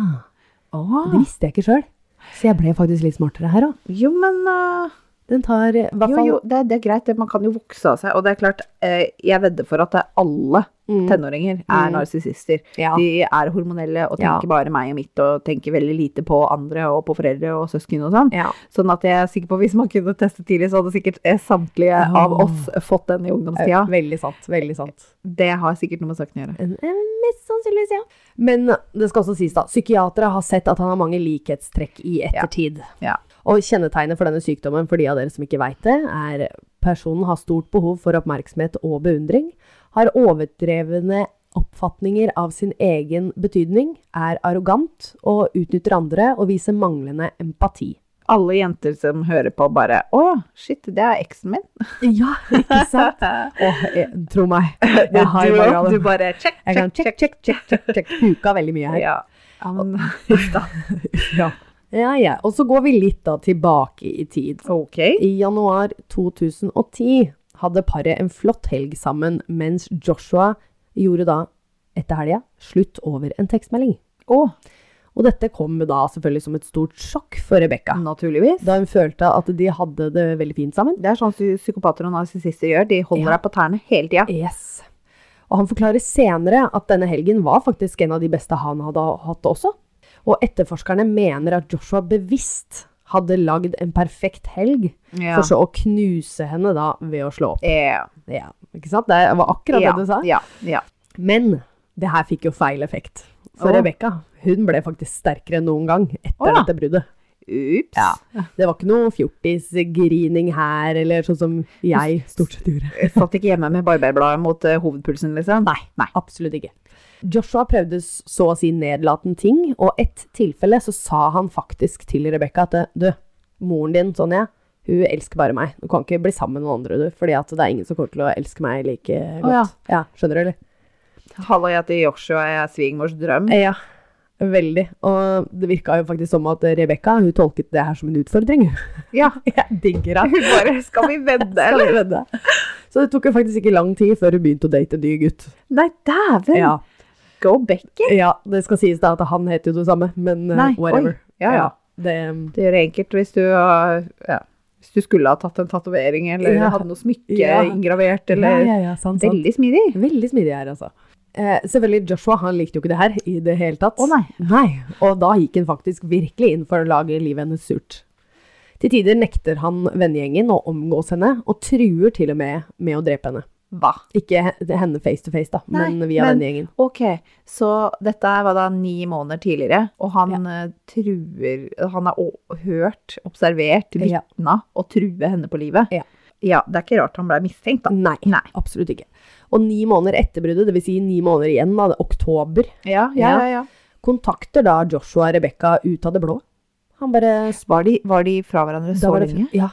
[SPEAKER 1] Det
[SPEAKER 2] Åh,
[SPEAKER 1] visste jeg ikke sjøl. Så jeg ble faktisk litt smartere her òg.
[SPEAKER 2] jo, men eh,
[SPEAKER 1] Den tar i hvert
[SPEAKER 2] Jo,
[SPEAKER 1] fall
[SPEAKER 2] jo, det, det er greit. det- Man kan jo vokse av seg. Og det er klart, eh, jeg vedder for at det er alle
[SPEAKER 1] Mm.
[SPEAKER 2] tenåringer er
[SPEAKER 1] Mm.
[SPEAKER 2] narsissister.
[SPEAKER 1] Ja.
[SPEAKER 2] De er hormonelle og
[SPEAKER 1] Ja.
[SPEAKER 2] tenker bare meg og mitt, og tenker veldig lite på andre og på foreldre og søsken og sånn.
[SPEAKER 1] ja.
[SPEAKER 2] Sånn at jeg er sikker på, hvis man kunne teste tidlig, så hadde sikkert eh, samtlige
[SPEAKER 1] Åh.
[SPEAKER 2] av oss fått den i ungdomstida.
[SPEAKER 1] Veldig sant. Veldig sant.
[SPEAKER 2] Det har sikkert noe med saken å gjøre.
[SPEAKER 1] En- en- Mest sannsynligvis, ja. Men eh, det skal også sies, da. Psykiatere har sett at han har mange likhetstrekk i ettertid.
[SPEAKER 2] Ja.
[SPEAKER 1] Og kjennetegnet for denne sykdommen, for de av dere som ikke veit det, er personen har stort behov for oppmerksomhet og beundring, har overdrevne oppfatninger av sin egen betydning, er arrogant og utnytter andre og viser manglende empati.
[SPEAKER 2] Alle jenter som hører på, bare Å ja, shit, det er eksen min.
[SPEAKER 1] Ja, ikke sant? Åh, jeg- tro meg. Jeg har
[SPEAKER 2] du,
[SPEAKER 1] mange av
[SPEAKER 2] du
[SPEAKER 1] dem.
[SPEAKER 2] bare check,
[SPEAKER 1] Jeg kan
[SPEAKER 2] check,
[SPEAKER 1] check, check, check, check, check. Huka veldig mye her.
[SPEAKER 2] Ja. ja, men da.
[SPEAKER 1] Ja. ja, ja. Og så går vi litt da tilbake i tid.
[SPEAKER 2] Ok.
[SPEAKER 1] I januar 2010 hadde paret en flott helg sammen, mens Joshua gjorde da, etter helga, slutt over en tekstmelding.
[SPEAKER 2] Å,
[SPEAKER 1] Og dette kom da selvfølgelig som et stort sjokk for Rebekka,
[SPEAKER 2] naturligvis.
[SPEAKER 1] da hun følte at de hadde det veldig fint sammen.
[SPEAKER 2] Det er sånn psy- psykopater og narsissister gjør. De holder
[SPEAKER 1] Ja.
[SPEAKER 2] deg på tærne hele tida.
[SPEAKER 1] Yes. Og han forklarer senere at denne helgen var faktisk en av de beste han hadde hatt også. Og etterforskerne mener at Joshua bevisst hadde lagd en perfekt helg,
[SPEAKER 2] Ja.
[SPEAKER 1] for så å knuse henne da ved å slå opp.
[SPEAKER 2] Ja.
[SPEAKER 1] Ja, ikke sant? Det var akkurat
[SPEAKER 2] ja,
[SPEAKER 1] det du sa.
[SPEAKER 2] Ja. ja.
[SPEAKER 1] Men det her fikk jo feil effekt. For
[SPEAKER 2] Åh.
[SPEAKER 1] Rebekka hun ble faktisk sterkere enn noen gang etter
[SPEAKER 2] Åh.
[SPEAKER 1] dette bruddet.
[SPEAKER 2] Ups.
[SPEAKER 1] Det var ikke noe fjortisgrining her, eller sånn som jeg stort sett gjorde.
[SPEAKER 2] Jeg satt ikke hjemme med barberbladet mot eh, hovedpulsen, liksom. Nei. Nei.
[SPEAKER 1] Absolutt ikke. Joshua prøvde s- så å si nedlatende ting, og ett tilfelle så sa han faktisk til Rebekka at du, moren din, Sonja, hun elsker bare meg. Du kan ikke bli sammen med noen andre, du, fordi at det er ingen som kommer til å elske meg like godt.
[SPEAKER 2] ja.
[SPEAKER 1] ja, skjønner du, eller?
[SPEAKER 2] Hallo, jeg heter Joshua, jeg er svigermors drøm.
[SPEAKER 1] Ja, veldig. Og det virka jo faktisk som at Rebekka hun tolket det her som en utfordring.
[SPEAKER 2] Ja.
[SPEAKER 1] Jeg digger
[SPEAKER 2] Hun bare Skal vi vedde,
[SPEAKER 1] Skal vi
[SPEAKER 2] eller?
[SPEAKER 1] vedde? Så det tok jo faktisk ikke lang tid før hun begynte å date en ny gutt.
[SPEAKER 2] Nei, dæven!
[SPEAKER 1] Ja,
[SPEAKER 2] Go Becky!
[SPEAKER 1] ja det skal sies da at han heter jo det samme, men eh,
[SPEAKER 2] Nei, oi.
[SPEAKER 1] whatever.
[SPEAKER 2] Ja, ja.
[SPEAKER 1] Det,
[SPEAKER 2] Det gjør det enkelt hvis du har ja. Hvis du skulle ha tatt en tatovering eller
[SPEAKER 1] Ja.
[SPEAKER 2] hadde noe smykke
[SPEAKER 1] Ja.
[SPEAKER 2] inngravert eller
[SPEAKER 1] ja, ja, ja, sant, sant.
[SPEAKER 2] Veldig smidig.
[SPEAKER 1] Veldig smidig her, altså. Eh, selvfølgelig, Joshua han likte jo ikke det her i det hele tatt.
[SPEAKER 2] Å, nei.
[SPEAKER 1] Og da gikk han faktisk virkelig inn for å lage livet hennes surt. Til tider nekter han vennegjengen å omgås henne, og truer til og med med å drepe henne.
[SPEAKER 2] Hva?
[SPEAKER 1] Ikke he- henne face to face, da,
[SPEAKER 2] Nei,
[SPEAKER 1] men via
[SPEAKER 2] men-
[SPEAKER 1] vennegjengen.
[SPEAKER 2] Ok, så dette her var da ni måneder tidligere, og han eh, truer Han har å- hørt, observert,
[SPEAKER 1] Ja.
[SPEAKER 2] vitna og true henne på livet.
[SPEAKER 1] Ja. Mm.
[SPEAKER 2] Ja, det er ikke rart han ble mistenkt, da.
[SPEAKER 1] Nei,
[SPEAKER 2] Nei.
[SPEAKER 1] absolutt ikke. Og ni måneder etter bruddet, dvs. Si ni måneder igjen, da, det er oktober,
[SPEAKER 2] Ja,
[SPEAKER 1] ja,
[SPEAKER 2] ja.
[SPEAKER 1] kontakter da Joshua Rebekka ut av det blå. Han bare
[SPEAKER 2] Var, de, var de fra hverandre
[SPEAKER 1] Da
[SPEAKER 2] så
[SPEAKER 1] var det-
[SPEAKER 2] lenge?
[SPEAKER 1] Ja.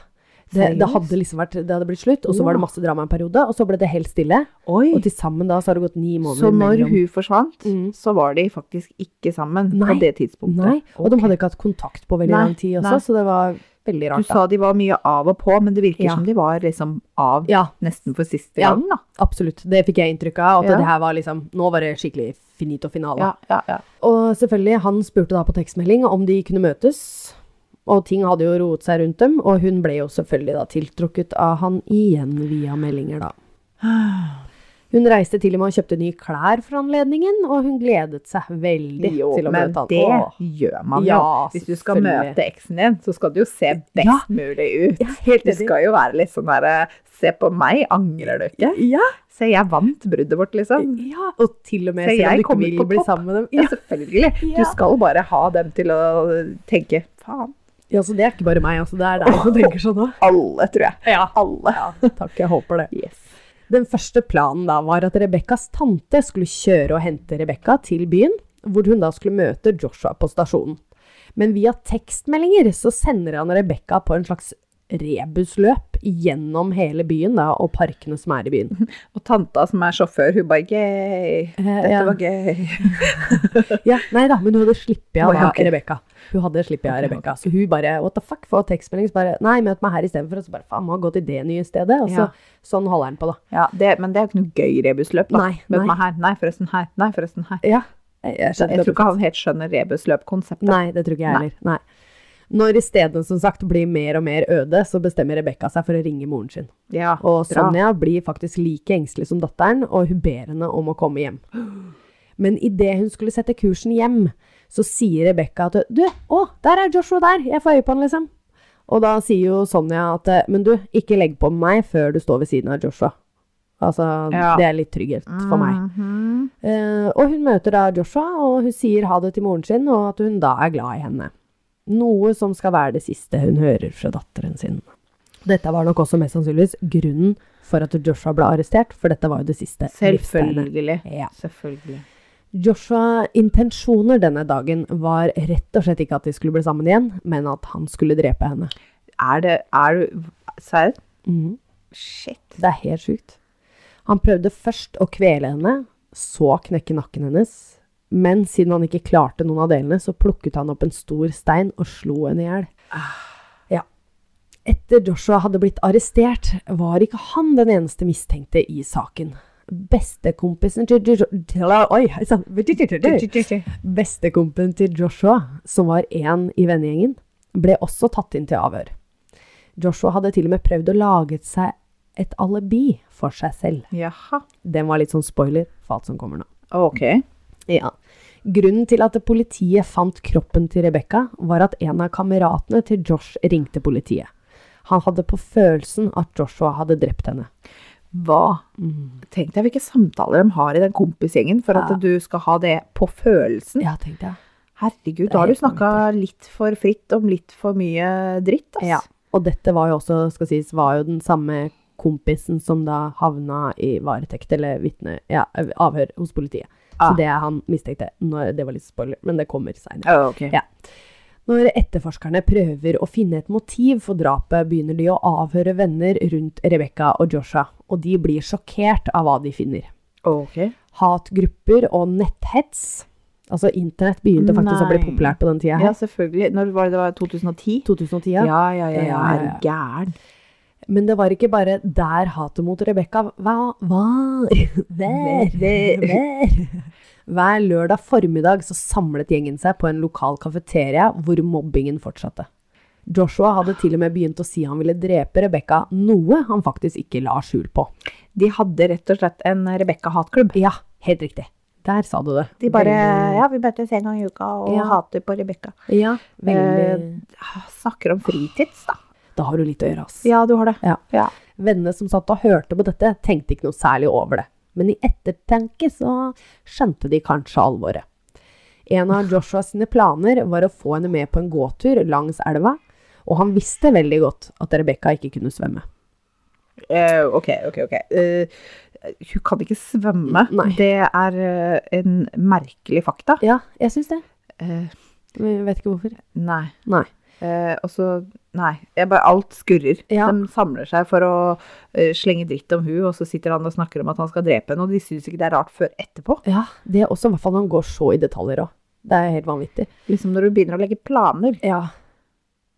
[SPEAKER 1] Det, det,
[SPEAKER 2] Seriøst?
[SPEAKER 1] hadde liksom vært, det hadde blitt slutt, og så var det
[SPEAKER 2] Ja.
[SPEAKER 1] masse drama en periode, og så ble det helt stille.
[SPEAKER 2] Oi!
[SPEAKER 1] Og til sammen da så har det gått ni måneder
[SPEAKER 2] Så når
[SPEAKER 1] mellom-
[SPEAKER 2] hun forsvant,
[SPEAKER 1] Mm.
[SPEAKER 2] så var de faktisk ikke sammen
[SPEAKER 1] Nei.
[SPEAKER 2] på det tidspunktet.
[SPEAKER 1] Nei, og de hadde ikke hatt kontakt på veldig
[SPEAKER 2] Nei,
[SPEAKER 1] lang tid også,
[SPEAKER 2] nei.
[SPEAKER 1] så det var veldig
[SPEAKER 2] Du
[SPEAKER 1] rart. da.
[SPEAKER 2] sa de var mye av og på, men det virker
[SPEAKER 1] Ja.
[SPEAKER 2] som de var liksom av
[SPEAKER 1] Ja,
[SPEAKER 2] nesten for siste
[SPEAKER 1] Ja.
[SPEAKER 2] gang, da.
[SPEAKER 1] absolutt. Det fikk jeg inntrykk av, at
[SPEAKER 2] Ja.
[SPEAKER 1] det her var liksom, nå var det skikkelig finito finale.
[SPEAKER 2] Ja, ja, ja.
[SPEAKER 1] Og selvfølgelig, han spurte da på tekstmelding om de kunne møtes, og ting hadde jo roet seg rundt dem, og hun ble jo selvfølgelig da tiltrukket av han igjen via meldinger da. Hun reiste til og med og kjøpte nye klær for anledningen, og hun gledet seg veldig
[SPEAKER 2] Jo,
[SPEAKER 1] til å
[SPEAKER 2] men
[SPEAKER 1] møte han.
[SPEAKER 2] det
[SPEAKER 1] Åh.
[SPEAKER 2] gjør man
[SPEAKER 1] Ja,
[SPEAKER 2] jo. Hvis du skal
[SPEAKER 1] selvfølgelig.
[SPEAKER 2] møte eksen din, så skal du jo se best
[SPEAKER 1] Ja.
[SPEAKER 2] mulig ut.
[SPEAKER 1] Ja, helt
[SPEAKER 2] Du
[SPEAKER 1] enig.
[SPEAKER 2] skal jo være litt sånn derre Se på meg, angrer du ikke?
[SPEAKER 1] Ja,
[SPEAKER 2] Se, jeg vant bruddet vårt, liksom.
[SPEAKER 1] ja, og til og med
[SPEAKER 2] Se,
[SPEAKER 1] selv om
[SPEAKER 2] jeg
[SPEAKER 1] du ikke
[SPEAKER 2] kommer
[SPEAKER 1] vil
[SPEAKER 2] på
[SPEAKER 1] bli
[SPEAKER 2] topp.
[SPEAKER 1] sammen med dem.
[SPEAKER 2] Ja,
[SPEAKER 1] Ja,
[SPEAKER 2] selvfølgelig.
[SPEAKER 1] Ja.
[SPEAKER 2] Du skal bare ha dem til å tenke Faen.
[SPEAKER 1] ja så det er ikke bare meg, altså. Det er deg som tenker sånn òg.
[SPEAKER 2] Alle, tror jeg.
[SPEAKER 1] Ja.
[SPEAKER 2] Alle.
[SPEAKER 1] Takk, jeg håper det.
[SPEAKER 2] Yes.
[SPEAKER 1] Den første planen da var at Rebekkas tante skulle kjøre og hente Rebekka til byen, hvor hun da skulle møte Joshua på stasjonen. Men via tekstmeldinger så sender han Rebekka på en slags rebusløp gjennom hele byen da, og parkene som er i byen.
[SPEAKER 2] Og tanta som er sjåfør, hun bare Gøy. Dette
[SPEAKER 1] Eh, ja.
[SPEAKER 2] var gøy.
[SPEAKER 1] Ja, nei da, men hun hadde sluppet av
[SPEAKER 2] Å, ja,
[SPEAKER 1] da,
[SPEAKER 2] ok.
[SPEAKER 1] Rebekka. Hun hadde slippet av Rebekka. Så hun bare what the fuck, får tekstmelding. Så bare nei, møt meg her istedenfor. Og så bare faen, må gå til det nye stedet. Og så
[SPEAKER 2] Ja.
[SPEAKER 1] sånn holder han på, da.
[SPEAKER 2] Ja, det, men det er jo ikke noe gøy rebusløp. da.
[SPEAKER 1] Nei,
[SPEAKER 2] Møt
[SPEAKER 1] nei.
[SPEAKER 2] meg her. Nei, forresten her. Nei, forresten her.
[SPEAKER 1] Ja. Jeg, jeg
[SPEAKER 2] Så
[SPEAKER 1] skjønner
[SPEAKER 2] jeg
[SPEAKER 1] det.
[SPEAKER 2] tror ikke han helt skjønner rebusløpkonseptet.
[SPEAKER 1] Nei, det tror ikke jeg heller. Nei. Når stedene som sagt blir mer og mer øde, så bestemmer Rebekka seg for å ringe moren sin.
[SPEAKER 2] Ja,
[SPEAKER 1] Og
[SPEAKER 2] bra.
[SPEAKER 1] Sonja blir faktisk like engstelig som datteren, og hun ber henne om å komme hjem. Men idet hun skulle sette kursen hjem, så sier Rebekka at Du, å, der er Joshua der! Jeg får øye på han, liksom. Og da sier jo Sonja at Men du, ikke legg på meg før du står ved siden av Joshua. Altså,
[SPEAKER 2] Ja.
[SPEAKER 1] det er litt trygghet for meg.
[SPEAKER 2] Mhm.
[SPEAKER 1] Eh, og hun møter da Joshua, og hun sier ha det til moren sin, og at hun da er glad i henne. Noe som skal være det siste hun hører fra datteren sin. Dette var nok også mest sannsynligvis grunnen for at Joshua ble arrestert, for dette var jo det siste livstegnet.
[SPEAKER 2] Selvfølgelig.
[SPEAKER 1] Ja.
[SPEAKER 2] Selvfølgelig.
[SPEAKER 1] Joshua intensjoner denne dagen var rett og slett ikke at de skulle bli sammen igjen, men at han skulle drepe henne.
[SPEAKER 2] Er det Er du Serr?
[SPEAKER 1] Mhm.
[SPEAKER 2] Shit.
[SPEAKER 1] Det er helt sjukt. Han prøvde først å kvele henne, så knekke nakken hennes. Men siden han ikke klarte noen av delene, så plukket han opp en stor stein og slo henne i hjel. Ja. Etter Joshua hadde blitt arrestert, var ikke han den eneste mistenkte i saken. Bestekompisen til Joshua Oi, sann! Bestekompen til Joshua, som var én i vennegjengen, ble også tatt inn til avhør. Joshua hadde til og med prøvd å lage seg et alibi for seg selv.
[SPEAKER 2] Jaha.
[SPEAKER 1] Den var litt sånn spoiler for alt som kommer nå.
[SPEAKER 2] Ok.
[SPEAKER 1] Ja. Grunnen til at politiet fant kroppen til Rebekka, var at en av kameratene til Josh ringte politiet. Han hadde på følelsen at Joshua hadde drept henne.
[SPEAKER 2] Hva? Tenk deg hvilke samtaler de har i den kompisgjengen for at
[SPEAKER 1] Ja.
[SPEAKER 2] du skal ha det på følelsen.
[SPEAKER 1] Ja, tenkte jeg.
[SPEAKER 2] Herregud, da har du
[SPEAKER 1] helt
[SPEAKER 2] snakka litt for fritt om litt for mye dritt, ass.
[SPEAKER 1] Ja. Og dette var jo også, skal sies, var jo den samme kompisen som da havna i varetekt eller vitne, ja, avhør hos politiet.
[SPEAKER 2] Ah.
[SPEAKER 1] Så det han mistenkte, når, det var litt spoiler, men det kommer seinere.
[SPEAKER 2] Å, ok.
[SPEAKER 1] Ja. Når etterforskerne prøver å finne et motiv for drapet, begynner de å avhøre venner rundt Rebekka og Joshua, og de blir sjokkert av hva de finner.
[SPEAKER 2] Ok.
[SPEAKER 1] Hatgrupper og netthets. Altså, internett begynte faktisk å bli
[SPEAKER 2] Nei.
[SPEAKER 1] populært på den tida
[SPEAKER 2] Ja,
[SPEAKER 1] her.
[SPEAKER 2] selvfølgelig. Når var det det var 2010?
[SPEAKER 1] 2010.
[SPEAKER 2] Ja, ja, ja.
[SPEAKER 1] Ja,
[SPEAKER 2] ja. Er
[SPEAKER 1] ja, ja.
[SPEAKER 2] du gæren?
[SPEAKER 1] Men det var ikke bare der hatet mot Rebekka var. Var. Var. Var. Hver lørdag formiddag så samlet gjengen seg på en lokal kafeteria hvor mobbingen fortsatte. Joshua hadde til og med begynt å si han ville drepe Rebekka, noe han faktisk ikke la skjul på.
[SPEAKER 2] De hadde rett og slett en Rebekka-hatklubb.
[SPEAKER 1] Ja, helt riktig. Der sa du det.
[SPEAKER 2] De bare
[SPEAKER 1] Veldig-
[SPEAKER 2] Ja, vi møtes en gang i uka og
[SPEAKER 1] Ja.
[SPEAKER 2] hater på Rebekka.
[SPEAKER 1] Ja, veldig.
[SPEAKER 2] Eh, snakker om fritids, da.
[SPEAKER 1] Da har du litt å gjøre, ass.
[SPEAKER 2] Ja, du har det.
[SPEAKER 1] Ja.
[SPEAKER 2] Ja.
[SPEAKER 1] Vennene som satt og hørte på dette, tenkte ikke noe særlig over det. Men i ettertanke så skjønte de kanskje alvoret. En av Joshua sine planer var å få henne med på en gåtur langs elva, og han visste veldig godt at Rebekka ikke kunne svømme.
[SPEAKER 2] Eh, ok, ok, ok. Eh, hun kan ikke svømme.
[SPEAKER 1] Nei.
[SPEAKER 2] Det er eh, en merkelig fakta.
[SPEAKER 1] Ja, jeg syns det.
[SPEAKER 2] Eh,
[SPEAKER 1] Jeg vet ikke hvorfor.
[SPEAKER 2] nei.
[SPEAKER 1] Nei.
[SPEAKER 2] Eh, og så Nei. Jeg bare, alt skurrer.
[SPEAKER 1] Ja.
[SPEAKER 2] De samler seg for å eh, slenge dritt om hun, og så sitter han og snakker om at han skal drepe henne, og de syns ikke det er rart før etterpå.
[SPEAKER 1] Ja, Det er også, i hvert fall når han går så i detaljer òg. Det er helt vanvittig.
[SPEAKER 2] Liksom når du begynner å legge planer.
[SPEAKER 1] Ja.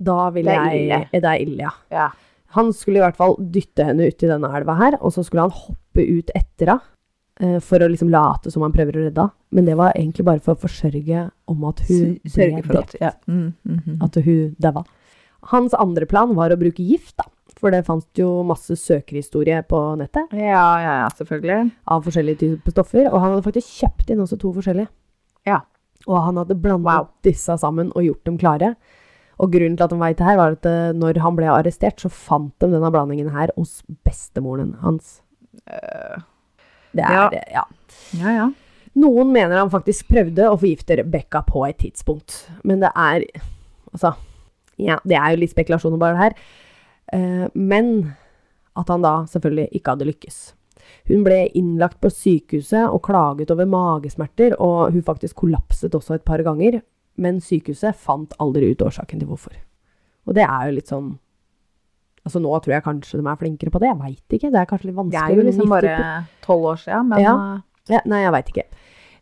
[SPEAKER 1] Da vil
[SPEAKER 2] Det er
[SPEAKER 1] jeg
[SPEAKER 2] ille.
[SPEAKER 1] Det er ille, ja.
[SPEAKER 2] Ja.
[SPEAKER 1] Han skulle i hvert fall dytte henne uti denne elva her, og så skulle han hoppe ut etter henne for å liksom late som han prøver å redde henne. Men det var egentlig bare for å forsørge om at hun
[SPEAKER 2] S-
[SPEAKER 1] ble
[SPEAKER 2] sørge for
[SPEAKER 1] drept.
[SPEAKER 2] at ja. mm, mm, mm.
[SPEAKER 1] At hun daua. Hans andre plan var å bruke gift, da. For det fantes jo masse søkerhistorie på nettet
[SPEAKER 2] ja, ja, ja, selvfølgelig.
[SPEAKER 1] av forskjellige typer stoffer, og han hadde faktisk kjøpt inn også to forskjellige.
[SPEAKER 2] Ja.
[SPEAKER 1] Og han hadde blandet
[SPEAKER 2] Wow.
[SPEAKER 1] disse sammen og gjort dem klare. Og grunnen til at de vet det her, var at eh, når han ble arrestert, så fant de denne blandingen her hos bestemoren hans. Det er,
[SPEAKER 2] Øh. ja.
[SPEAKER 1] eh, ja.
[SPEAKER 2] Ja, ja.
[SPEAKER 1] Noen mener han faktisk prøvde å forgifte Rebekka på et tidspunkt, men det er Altså, ja, det er jo litt spekulasjoner bare det her. Eh, men at han da selvfølgelig ikke hadde lykkes. Hun ble innlagt på sykehuset og klaget over magesmerter, og hun faktisk kollapset også et par ganger, men sykehuset fant aldri ut årsaken til hvorfor. Og det er jo litt sånn Altså nå tror jeg kanskje de er flinkere på det, jeg veit ikke. Det er kanskje litt
[SPEAKER 2] Det
[SPEAKER 1] vanskelig.
[SPEAKER 2] er jo
[SPEAKER 1] å
[SPEAKER 2] liksom
[SPEAKER 1] nifte
[SPEAKER 2] bare tolv år siden, men
[SPEAKER 1] Ja.
[SPEAKER 2] eh,
[SPEAKER 1] på- ja, Nei, jeg veit ikke.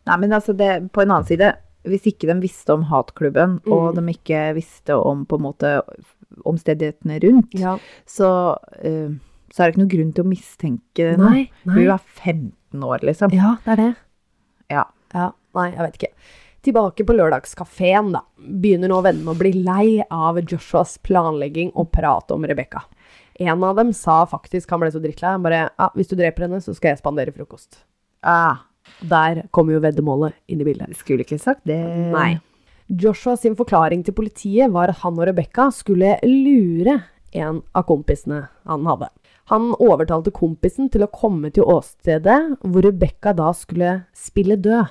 [SPEAKER 2] Nei, men altså det, på en annen side, hvis ikke de visste om hatklubben, og de
[SPEAKER 1] Mm.
[SPEAKER 2] ikke visste om på en måte omstendighetene rundt,
[SPEAKER 1] Ja.
[SPEAKER 2] så, eh, så er det ikke noen grunn til å mistenke henne.
[SPEAKER 1] Nei, nei.
[SPEAKER 2] Hun er 15 år, liksom.
[SPEAKER 1] Ja, det er det.
[SPEAKER 2] Ja.
[SPEAKER 1] Ja, nei, jeg vet ikke. Tilbake på lørdagskafeen, da. Begynner nå vennene å bli lei av Joshuas planlegging og prat om Rebekka. En av dem sa faktisk, han ble så drittlei, han bare ja, 'Hvis du dreper henne, så skal jeg spandere frokost'.
[SPEAKER 2] Ah,
[SPEAKER 1] Der kommer jo veddemålet inn i bildet.
[SPEAKER 2] skulle ikke sagt det.
[SPEAKER 1] Nei. Joshua sin forklaring til politiet var at han og Rebekka skulle lure en av kompisene han hadde. Han overtalte kompisen til å komme til åstedet, hvor Rebekka da skulle spille død.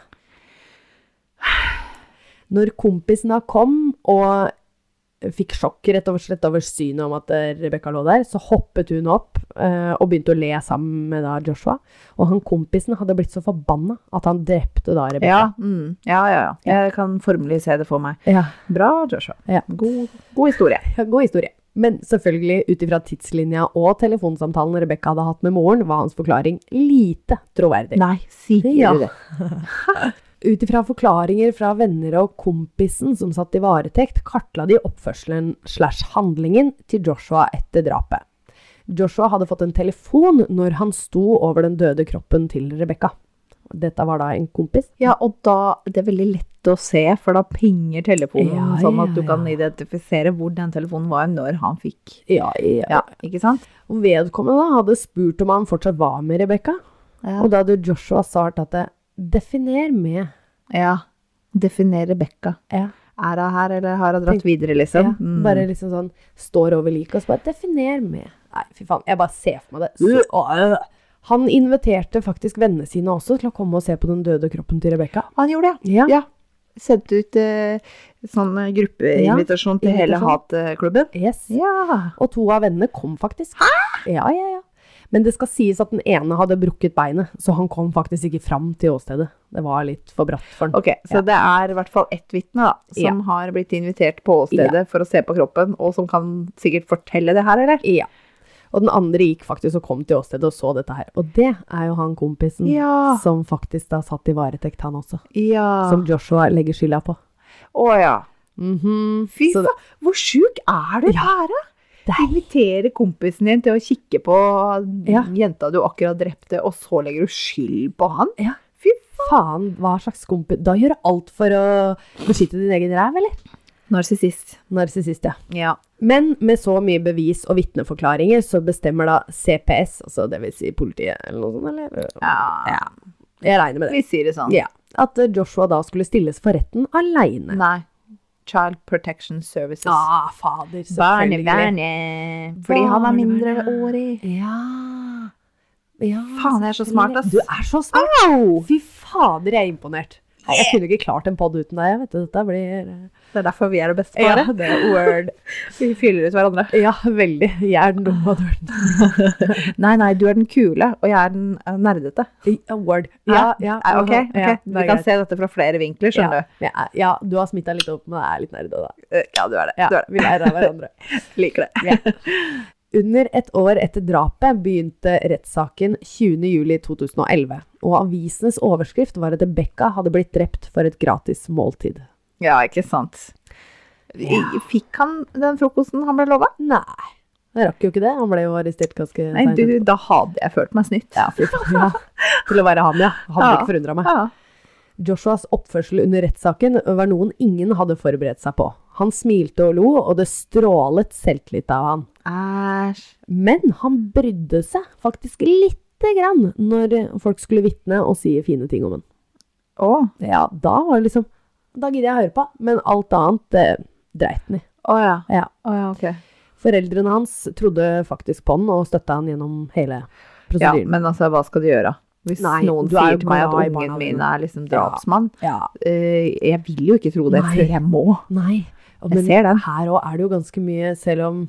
[SPEAKER 1] Når kompisen da kom og fikk sjokk rett og slett over synet om at eh, Rebekka lå der, så hoppet hun opp eh, og begynte å le sammen med da Joshua. Og han kompisen hadde blitt så forbanna at han drepte da Rebekka.
[SPEAKER 2] Ja, mm, ja, ja, ja. Jeg kan formelig se det for meg.
[SPEAKER 1] Ja.
[SPEAKER 2] Bra, Joshua.
[SPEAKER 1] Ja.
[SPEAKER 2] God, god historie.
[SPEAKER 1] Ja, God historie. Men selvfølgelig, ut ifra tidslinja og telefonsamtalen Rebekka hadde hatt med moren, var hans forklaring lite troverdig.
[SPEAKER 2] Nei, sier
[SPEAKER 1] Ja.
[SPEAKER 2] du det?
[SPEAKER 1] Ut ifra forklaringer fra venner og kompisen som satt i varetekt, kartla de oppførselen slash handlingen til Joshua etter drapet. Joshua hadde fått en telefon når han sto over den døde kroppen til Rebekka. Dette var da en kompis.
[SPEAKER 2] Ja, og da det er veldig lett å se, for da pinger telefonen
[SPEAKER 1] Ja,
[SPEAKER 2] sånn
[SPEAKER 1] ja,
[SPEAKER 2] at du kan
[SPEAKER 1] ja.
[SPEAKER 2] identifisere hvor den telefonen var når han fikk.
[SPEAKER 1] Ja, ja.
[SPEAKER 2] Ja, ikke sant?
[SPEAKER 1] Og vedkommende da hadde spurt om han fortsatt var med Rebekka.
[SPEAKER 2] Ja.
[SPEAKER 1] Og da hadde Joshua svart at det definer med.
[SPEAKER 2] ja. Definere Rebekka.
[SPEAKER 1] Ja.
[SPEAKER 2] Er hun her, eller har hun dratt
[SPEAKER 1] Tenk-
[SPEAKER 2] videre, liksom?
[SPEAKER 1] Ja,
[SPEAKER 2] Mm.
[SPEAKER 1] Bare liksom sånn står over liket og så bare definer med. Nei, fy faen. Jeg bare ser for meg det. Så, Åh. han inviterte faktisk vennene sine også til å komme og se på den døde kroppen til Rebekka.
[SPEAKER 2] Han gjorde det,
[SPEAKER 1] Ja.
[SPEAKER 2] ja. Sendte ut eh, sånn eh, gruppeinvitasjon til hele
[SPEAKER 1] invitasjon.
[SPEAKER 2] hatklubben.
[SPEAKER 1] Yes.
[SPEAKER 2] Ja.
[SPEAKER 1] Og to av vennene kom faktisk. Ja, ja, ja. Men det skal sies at den ene hadde brukket beinet, så han kom faktisk ikke fram til åstedet. Det var litt for bratt for han.
[SPEAKER 2] Ok, så det er i hvert fall ett vitne da, som
[SPEAKER 1] Ja.
[SPEAKER 2] har blitt invitert på åstedet for å se på kroppen, og som kan sikkert fortelle det her, eller?
[SPEAKER 1] Ja. Og den andre gikk faktisk og kom til åstedet og så dette her. Og det er jo han kompisen
[SPEAKER 2] Ja. Ah.
[SPEAKER 1] som faktisk da satt i varetekt, han også.
[SPEAKER 2] Ja.
[SPEAKER 1] Som Joshua legger skylda på.
[SPEAKER 2] Å ja.
[SPEAKER 1] Mhm.
[SPEAKER 2] Fy
[SPEAKER 1] Så det-
[SPEAKER 2] faen, hvor sjuk er du
[SPEAKER 1] Ja.
[SPEAKER 2] her, da?
[SPEAKER 1] Det er-
[SPEAKER 2] Invitere kompisen din til å kikke på
[SPEAKER 1] Ja.
[SPEAKER 2] jenta du akkurat drepte, og så legger du skyld på han?
[SPEAKER 1] Ja.
[SPEAKER 2] Fy
[SPEAKER 1] Faen, hva slags kompis Da gjør du alt for å beskytte din egen ræv, eller?
[SPEAKER 2] Narsissist.
[SPEAKER 1] Narsissist, ja.
[SPEAKER 2] Ja.
[SPEAKER 1] Men med så mye bevis og vitneforklaringer, så bestemmer da CPS, altså det vil si politiet eller noe sånt, eller?
[SPEAKER 2] ja.
[SPEAKER 1] Jeg regner med det.
[SPEAKER 2] Vi sier det sånn.
[SPEAKER 1] Ja. At eh, Joshua da skulle stilles for retten aleine.
[SPEAKER 2] Nei. Child Protection Services.
[SPEAKER 1] Ah, fader, selvfølgelig.
[SPEAKER 2] Barnevernet. Fordi han er
[SPEAKER 1] Barnevernet.
[SPEAKER 2] mindreårig.
[SPEAKER 1] Ja. ja.
[SPEAKER 2] Faen, jeg er så smart, ass.
[SPEAKER 1] Du er så smart! Fy fader, jeg er imponert. Nei, Jeg kunne ikke klart en pod uten deg. jeg Vet du, dette blir eh,
[SPEAKER 2] Det er derfor vi er det beste
[SPEAKER 1] Ja,
[SPEAKER 2] paret.
[SPEAKER 1] det er word.
[SPEAKER 2] Vi fyller ut hverandre.
[SPEAKER 1] Ja, veldig. Jeg er den dumme av døren.
[SPEAKER 2] Nei, nei, du er den kule, og jeg er den eh, nerdete.
[SPEAKER 1] Ja, Word. Ja, ja.
[SPEAKER 2] Eh, ok, ok.
[SPEAKER 1] ja, det
[SPEAKER 2] du
[SPEAKER 1] er
[SPEAKER 2] kan
[SPEAKER 1] greit.
[SPEAKER 2] se dette fra flere vinkler, skjønner
[SPEAKER 1] ja, ja, ja, du har smitta litt opp, men jeg er litt nerd òg, da.
[SPEAKER 2] du. Eh, Ja, du er det.
[SPEAKER 1] Ja,
[SPEAKER 2] Du er det.
[SPEAKER 1] vi lærer av hverandre.
[SPEAKER 2] Liker det.
[SPEAKER 1] Under et år etter drapet begynte rettssaken 20.07.2011, og avisenes overskrift var at Rebekka hadde blitt drept for et gratis måltid.
[SPEAKER 2] Ja, ikke sant. I- Fikk han den frokosten han ble lova?
[SPEAKER 1] Nei, jeg rakk jo ikke det. Han ble jo arrestert ganske
[SPEAKER 2] Nei,
[SPEAKER 1] seint.
[SPEAKER 2] du, da hadde jeg følt meg snytt.
[SPEAKER 1] Ja, fy faen. Ja. Til å være han, ja. Hadde
[SPEAKER 2] Ja.
[SPEAKER 1] ikke forundra meg.
[SPEAKER 2] Ja.
[SPEAKER 1] Joshuas oppførsel under rettssaken var noen ingen hadde forberedt seg på. Han smilte og lo, og det strålet selvtillit av han.
[SPEAKER 2] Æsj.
[SPEAKER 1] Men han brydde seg faktisk lite grann når folk skulle vitne og si fine ting om han.
[SPEAKER 2] Å.
[SPEAKER 1] Ja, da var det liksom Da gidder jeg å høre på, men alt annet det dreit han i.
[SPEAKER 2] Å ja.
[SPEAKER 1] Ja.
[SPEAKER 2] Å ja, ok.
[SPEAKER 1] Foreldrene hans trodde faktisk på han og støtta han gjennom hele
[SPEAKER 2] Ja,
[SPEAKER 1] prosedyren.
[SPEAKER 2] men altså, hva skal du gjøre? Hvis
[SPEAKER 1] Nei,
[SPEAKER 2] noen
[SPEAKER 1] du er
[SPEAKER 2] sier
[SPEAKER 1] jo
[SPEAKER 2] til meg at
[SPEAKER 1] glad i
[SPEAKER 2] ungen
[SPEAKER 1] barna
[SPEAKER 2] min
[SPEAKER 1] dine.
[SPEAKER 2] er liksom drapsmann,
[SPEAKER 1] Ja.
[SPEAKER 2] eh, jeg vil jo ikke tro det
[SPEAKER 1] Nei.
[SPEAKER 2] før jeg må.
[SPEAKER 1] Nei. Og
[SPEAKER 2] Jeg
[SPEAKER 1] men
[SPEAKER 2] ser den.
[SPEAKER 1] her òg er det jo ganske mye, selv om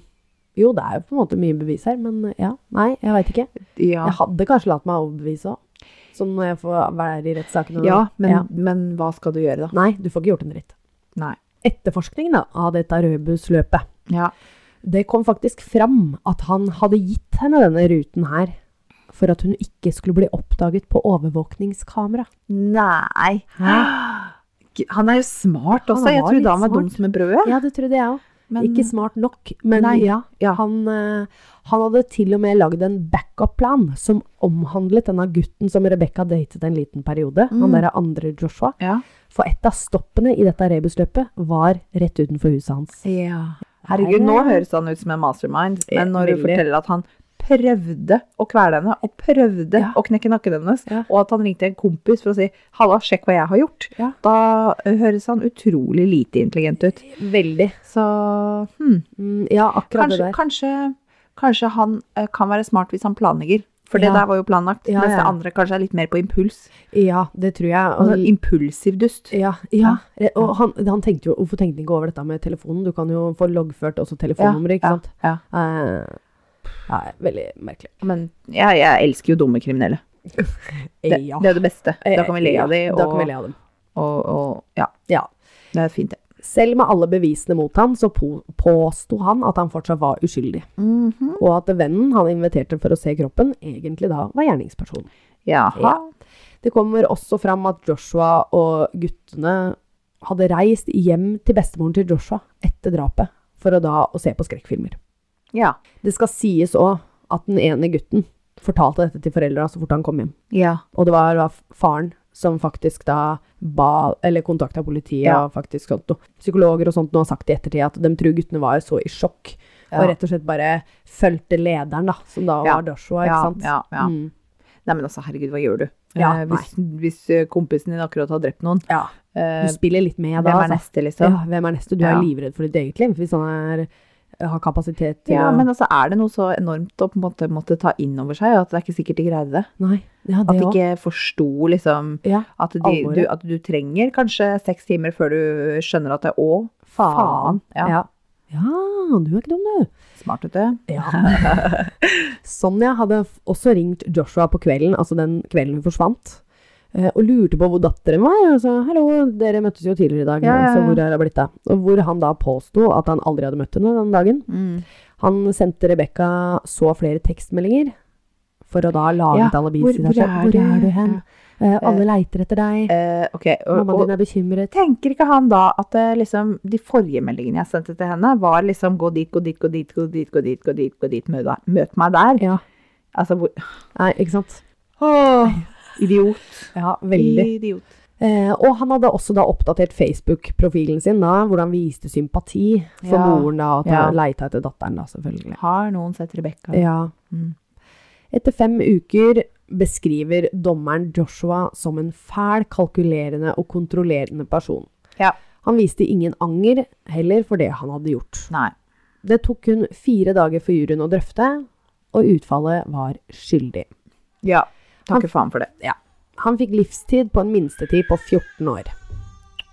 [SPEAKER 1] Jo, det er jo på en måte mye bevis her, men eh, ja. Nei, jeg veit ikke.
[SPEAKER 2] Ja.
[SPEAKER 1] Jeg hadde kanskje latt meg overbevise òg. Sånn når jeg får være i rettssaken. og-
[SPEAKER 2] Ja, men, men hva skal du gjøre da?
[SPEAKER 1] Nei, du får ikke gjort en dritt.
[SPEAKER 2] Nei.
[SPEAKER 1] Etterforskningen da, av dette rødbusløpet,
[SPEAKER 2] Ja.
[SPEAKER 1] det kom faktisk fram at han hadde gitt henne denne ruten her for at hun ikke skulle bli oppdaget på overvåkningskamera.
[SPEAKER 2] Nei. ikke, han er jo smart også.
[SPEAKER 1] Han
[SPEAKER 2] Jeg
[SPEAKER 1] var
[SPEAKER 2] trodde
[SPEAKER 1] litt
[SPEAKER 2] han var dum
[SPEAKER 1] smart.
[SPEAKER 2] som et brød.
[SPEAKER 1] Ja, det trodde jeg òg.
[SPEAKER 2] Men
[SPEAKER 1] Ikke smart nok, men
[SPEAKER 2] Nei,
[SPEAKER 1] ja.
[SPEAKER 2] ja.
[SPEAKER 1] Han, eh, han hadde til og med lagd en backup-plan som omhandlet denne gutten som Rebekka datet en liten periode,
[SPEAKER 2] Mm.
[SPEAKER 1] han derre andre Joshua.
[SPEAKER 2] ja.
[SPEAKER 1] For et av stoppene i dette rebusløpet var rett utenfor huset hans.
[SPEAKER 2] Herregud,
[SPEAKER 1] Nei,
[SPEAKER 2] nå
[SPEAKER 1] nei.
[SPEAKER 2] høres han ut som en mastermind,
[SPEAKER 1] Ja,
[SPEAKER 2] men når du
[SPEAKER 1] veldig.
[SPEAKER 2] forteller at han prøvde å kvele henne, og prøvde
[SPEAKER 1] Ja.
[SPEAKER 2] å knekke nakken hennes,
[SPEAKER 1] Ja.
[SPEAKER 2] og at han ringte en kompis for å si 'halla, sjekk hva jeg har gjort',
[SPEAKER 1] Ja.
[SPEAKER 2] da eh, høres han utrolig lite intelligent ut.
[SPEAKER 1] Veldig.
[SPEAKER 2] Så hmm.
[SPEAKER 1] Mm, ja, akkurat
[SPEAKER 2] kanskje,
[SPEAKER 1] det der.
[SPEAKER 2] kanskje, kanskje han eh, kan være smart hvis han planlegger. For det
[SPEAKER 1] Ja.
[SPEAKER 2] der var jo planlagt.
[SPEAKER 1] Ja,
[SPEAKER 2] mens
[SPEAKER 1] ja.
[SPEAKER 2] det andre kanskje er litt mer på impuls.
[SPEAKER 1] Ja, det tror jeg.
[SPEAKER 2] Altså,
[SPEAKER 1] Og,
[SPEAKER 2] impulsiv dust.
[SPEAKER 1] ja, ja. og han, han tenkte jo Hvorfor tenkte han ikke over dette med telefonen? Du kan jo få loggført også telefonnummeret, ikke
[SPEAKER 2] ja,
[SPEAKER 1] sant?
[SPEAKER 2] ja.
[SPEAKER 1] Eh, ja, veldig merkelig.
[SPEAKER 2] Men jeg, jeg elsker jo dumme kriminelle. Det,
[SPEAKER 1] ja. Eh,
[SPEAKER 2] det er det beste. Eh, Da kan vi le av
[SPEAKER 1] Ja,
[SPEAKER 2] dem.
[SPEAKER 1] Da kan vi le av dem.
[SPEAKER 2] Og, og ja,
[SPEAKER 1] Ja.
[SPEAKER 2] det er fint, det.
[SPEAKER 1] Selv med alle bevisene mot han, så po påsto han at han fortsatt var uskyldig,
[SPEAKER 2] Mhm.
[SPEAKER 1] og at vennen han inviterte for å se kroppen, egentlig da var gjerningspersonen.
[SPEAKER 2] Jaha.
[SPEAKER 1] Ja. Det kommer også fram at Joshua og guttene hadde reist hjem til bestemoren til Joshua etter drapet, for å da å se på skrekkfilmer.
[SPEAKER 2] Ja.
[SPEAKER 1] Det skal sies òg at den ene gutten fortalte dette til foreldra så fort han kom hjem,
[SPEAKER 2] Ja.
[SPEAKER 1] og det var da faren som faktisk da ba, eller kontakta politiet
[SPEAKER 2] Ja.
[SPEAKER 1] og faktisk sånt noe. Psykologer og sånt nå har sagt i ettertid at de tror guttene var så i sjokk, og
[SPEAKER 2] Ja.
[SPEAKER 1] rett og slett bare fulgte lederen da, som da
[SPEAKER 2] Ja.
[SPEAKER 1] var Joshua, ikke
[SPEAKER 2] Ja,
[SPEAKER 1] sant?
[SPEAKER 2] ja, ja.
[SPEAKER 1] Mm.
[SPEAKER 2] Nei, men altså, herregud, hva gjør du?
[SPEAKER 1] Ja,
[SPEAKER 2] Eh, hvis, hvis eh, kompisen din akkurat har drept noen,
[SPEAKER 1] ja.
[SPEAKER 2] eh,
[SPEAKER 1] Du spiller litt med
[SPEAKER 2] hvem
[SPEAKER 1] da,
[SPEAKER 2] er
[SPEAKER 1] altså.
[SPEAKER 2] neste, liksom?
[SPEAKER 1] Ja, hvem er neste? Du er
[SPEAKER 2] Ja.
[SPEAKER 1] livredd for ditt eget liv, hvis han er, har kapasitet
[SPEAKER 2] Ja.
[SPEAKER 1] til å...
[SPEAKER 2] men altså, er det noe så enormt å på en måte måtte ta inn over seg, at det er ikke sikkert de greide det?
[SPEAKER 1] Nei, ja,
[SPEAKER 2] At
[SPEAKER 1] det
[SPEAKER 2] de
[SPEAKER 1] også.
[SPEAKER 2] ikke forsto liksom
[SPEAKER 1] Ja,
[SPEAKER 2] at, de,
[SPEAKER 1] Alvoret.
[SPEAKER 2] du, at du trenger kanskje seks timer før du skjønner at det er å, faen. Ja.
[SPEAKER 1] Ja. ja, du er ikke dum, du.
[SPEAKER 2] Smart, vet du.
[SPEAKER 1] Ja. Sonja hadde f- også ringt Joshua på kvelden, altså den kvelden hun forsvant, eh, og lurte på hvor datteren var. Og sa 'hallo, dere møttes jo tidligere i dag,
[SPEAKER 2] Ja, ja,
[SPEAKER 1] så
[SPEAKER 2] ja.
[SPEAKER 1] hvor har det blitt av?' Og Hvor han da påsto at han aldri hadde møtt henne den dagen. Han sendte Rebekka så flere tekstmeldinger for å da lage
[SPEAKER 2] Ja,
[SPEAKER 1] et alibi.
[SPEAKER 2] hvor-
[SPEAKER 1] siden
[SPEAKER 2] hvor
[SPEAKER 1] av seg.
[SPEAKER 2] er
[SPEAKER 1] hvor
[SPEAKER 2] du?»
[SPEAKER 1] er du hen? Eh, alle leiter etter deg.
[SPEAKER 2] Eh, ok, og,
[SPEAKER 1] Mammaen
[SPEAKER 2] og,
[SPEAKER 1] din er bekymret.
[SPEAKER 2] Tenker ikke han da at eh, liksom, de forrige meldingene jeg sendte til henne, var liksom gå dit, gå dit, gå dit, gå dit, gå dit, gå dit, gå dit, møt deg- møt meg der?
[SPEAKER 1] Ja.
[SPEAKER 2] Altså, hvor
[SPEAKER 1] Nei, ikke sant?
[SPEAKER 2] Idiot.
[SPEAKER 1] Ja, veldig.
[SPEAKER 2] Idiot.
[SPEAKER 1] Eh, og han hadde også da oppdatert Facebook-profilen sin, da, hvor han viste sympati for
[SPEAKER 2] Ja.
[SPEAKER 1] moren da, og at han
[SPEAKER 2] Ja.
[SPEAKER 1] leita etter datteren, da, selvfølgelig.
[SPEAKER 2] Har noen sett Rebekka?
[SPEAKER 1] Ja.
[SPEAKER 2] Mm.
[SPEAKER 1] Etter fem uker beskriver dommeren Joshua som en fæl, kalkulerende og kontrollerende person.
[SPEAKER 2] Ja.
[SPEAKER 1] Han viste ingen anger heller for det han hadde gjort.
[SPEAKER 2] Nei.
[SPEAKER 1] Det tok kun fire dager for juryen å drøfte, og utfallet var skyldig.
[SPEAKER 2] Ja. Takker faen for det.
[SPEAKER 1] Han fikk livstid på en minstetid på 14 år.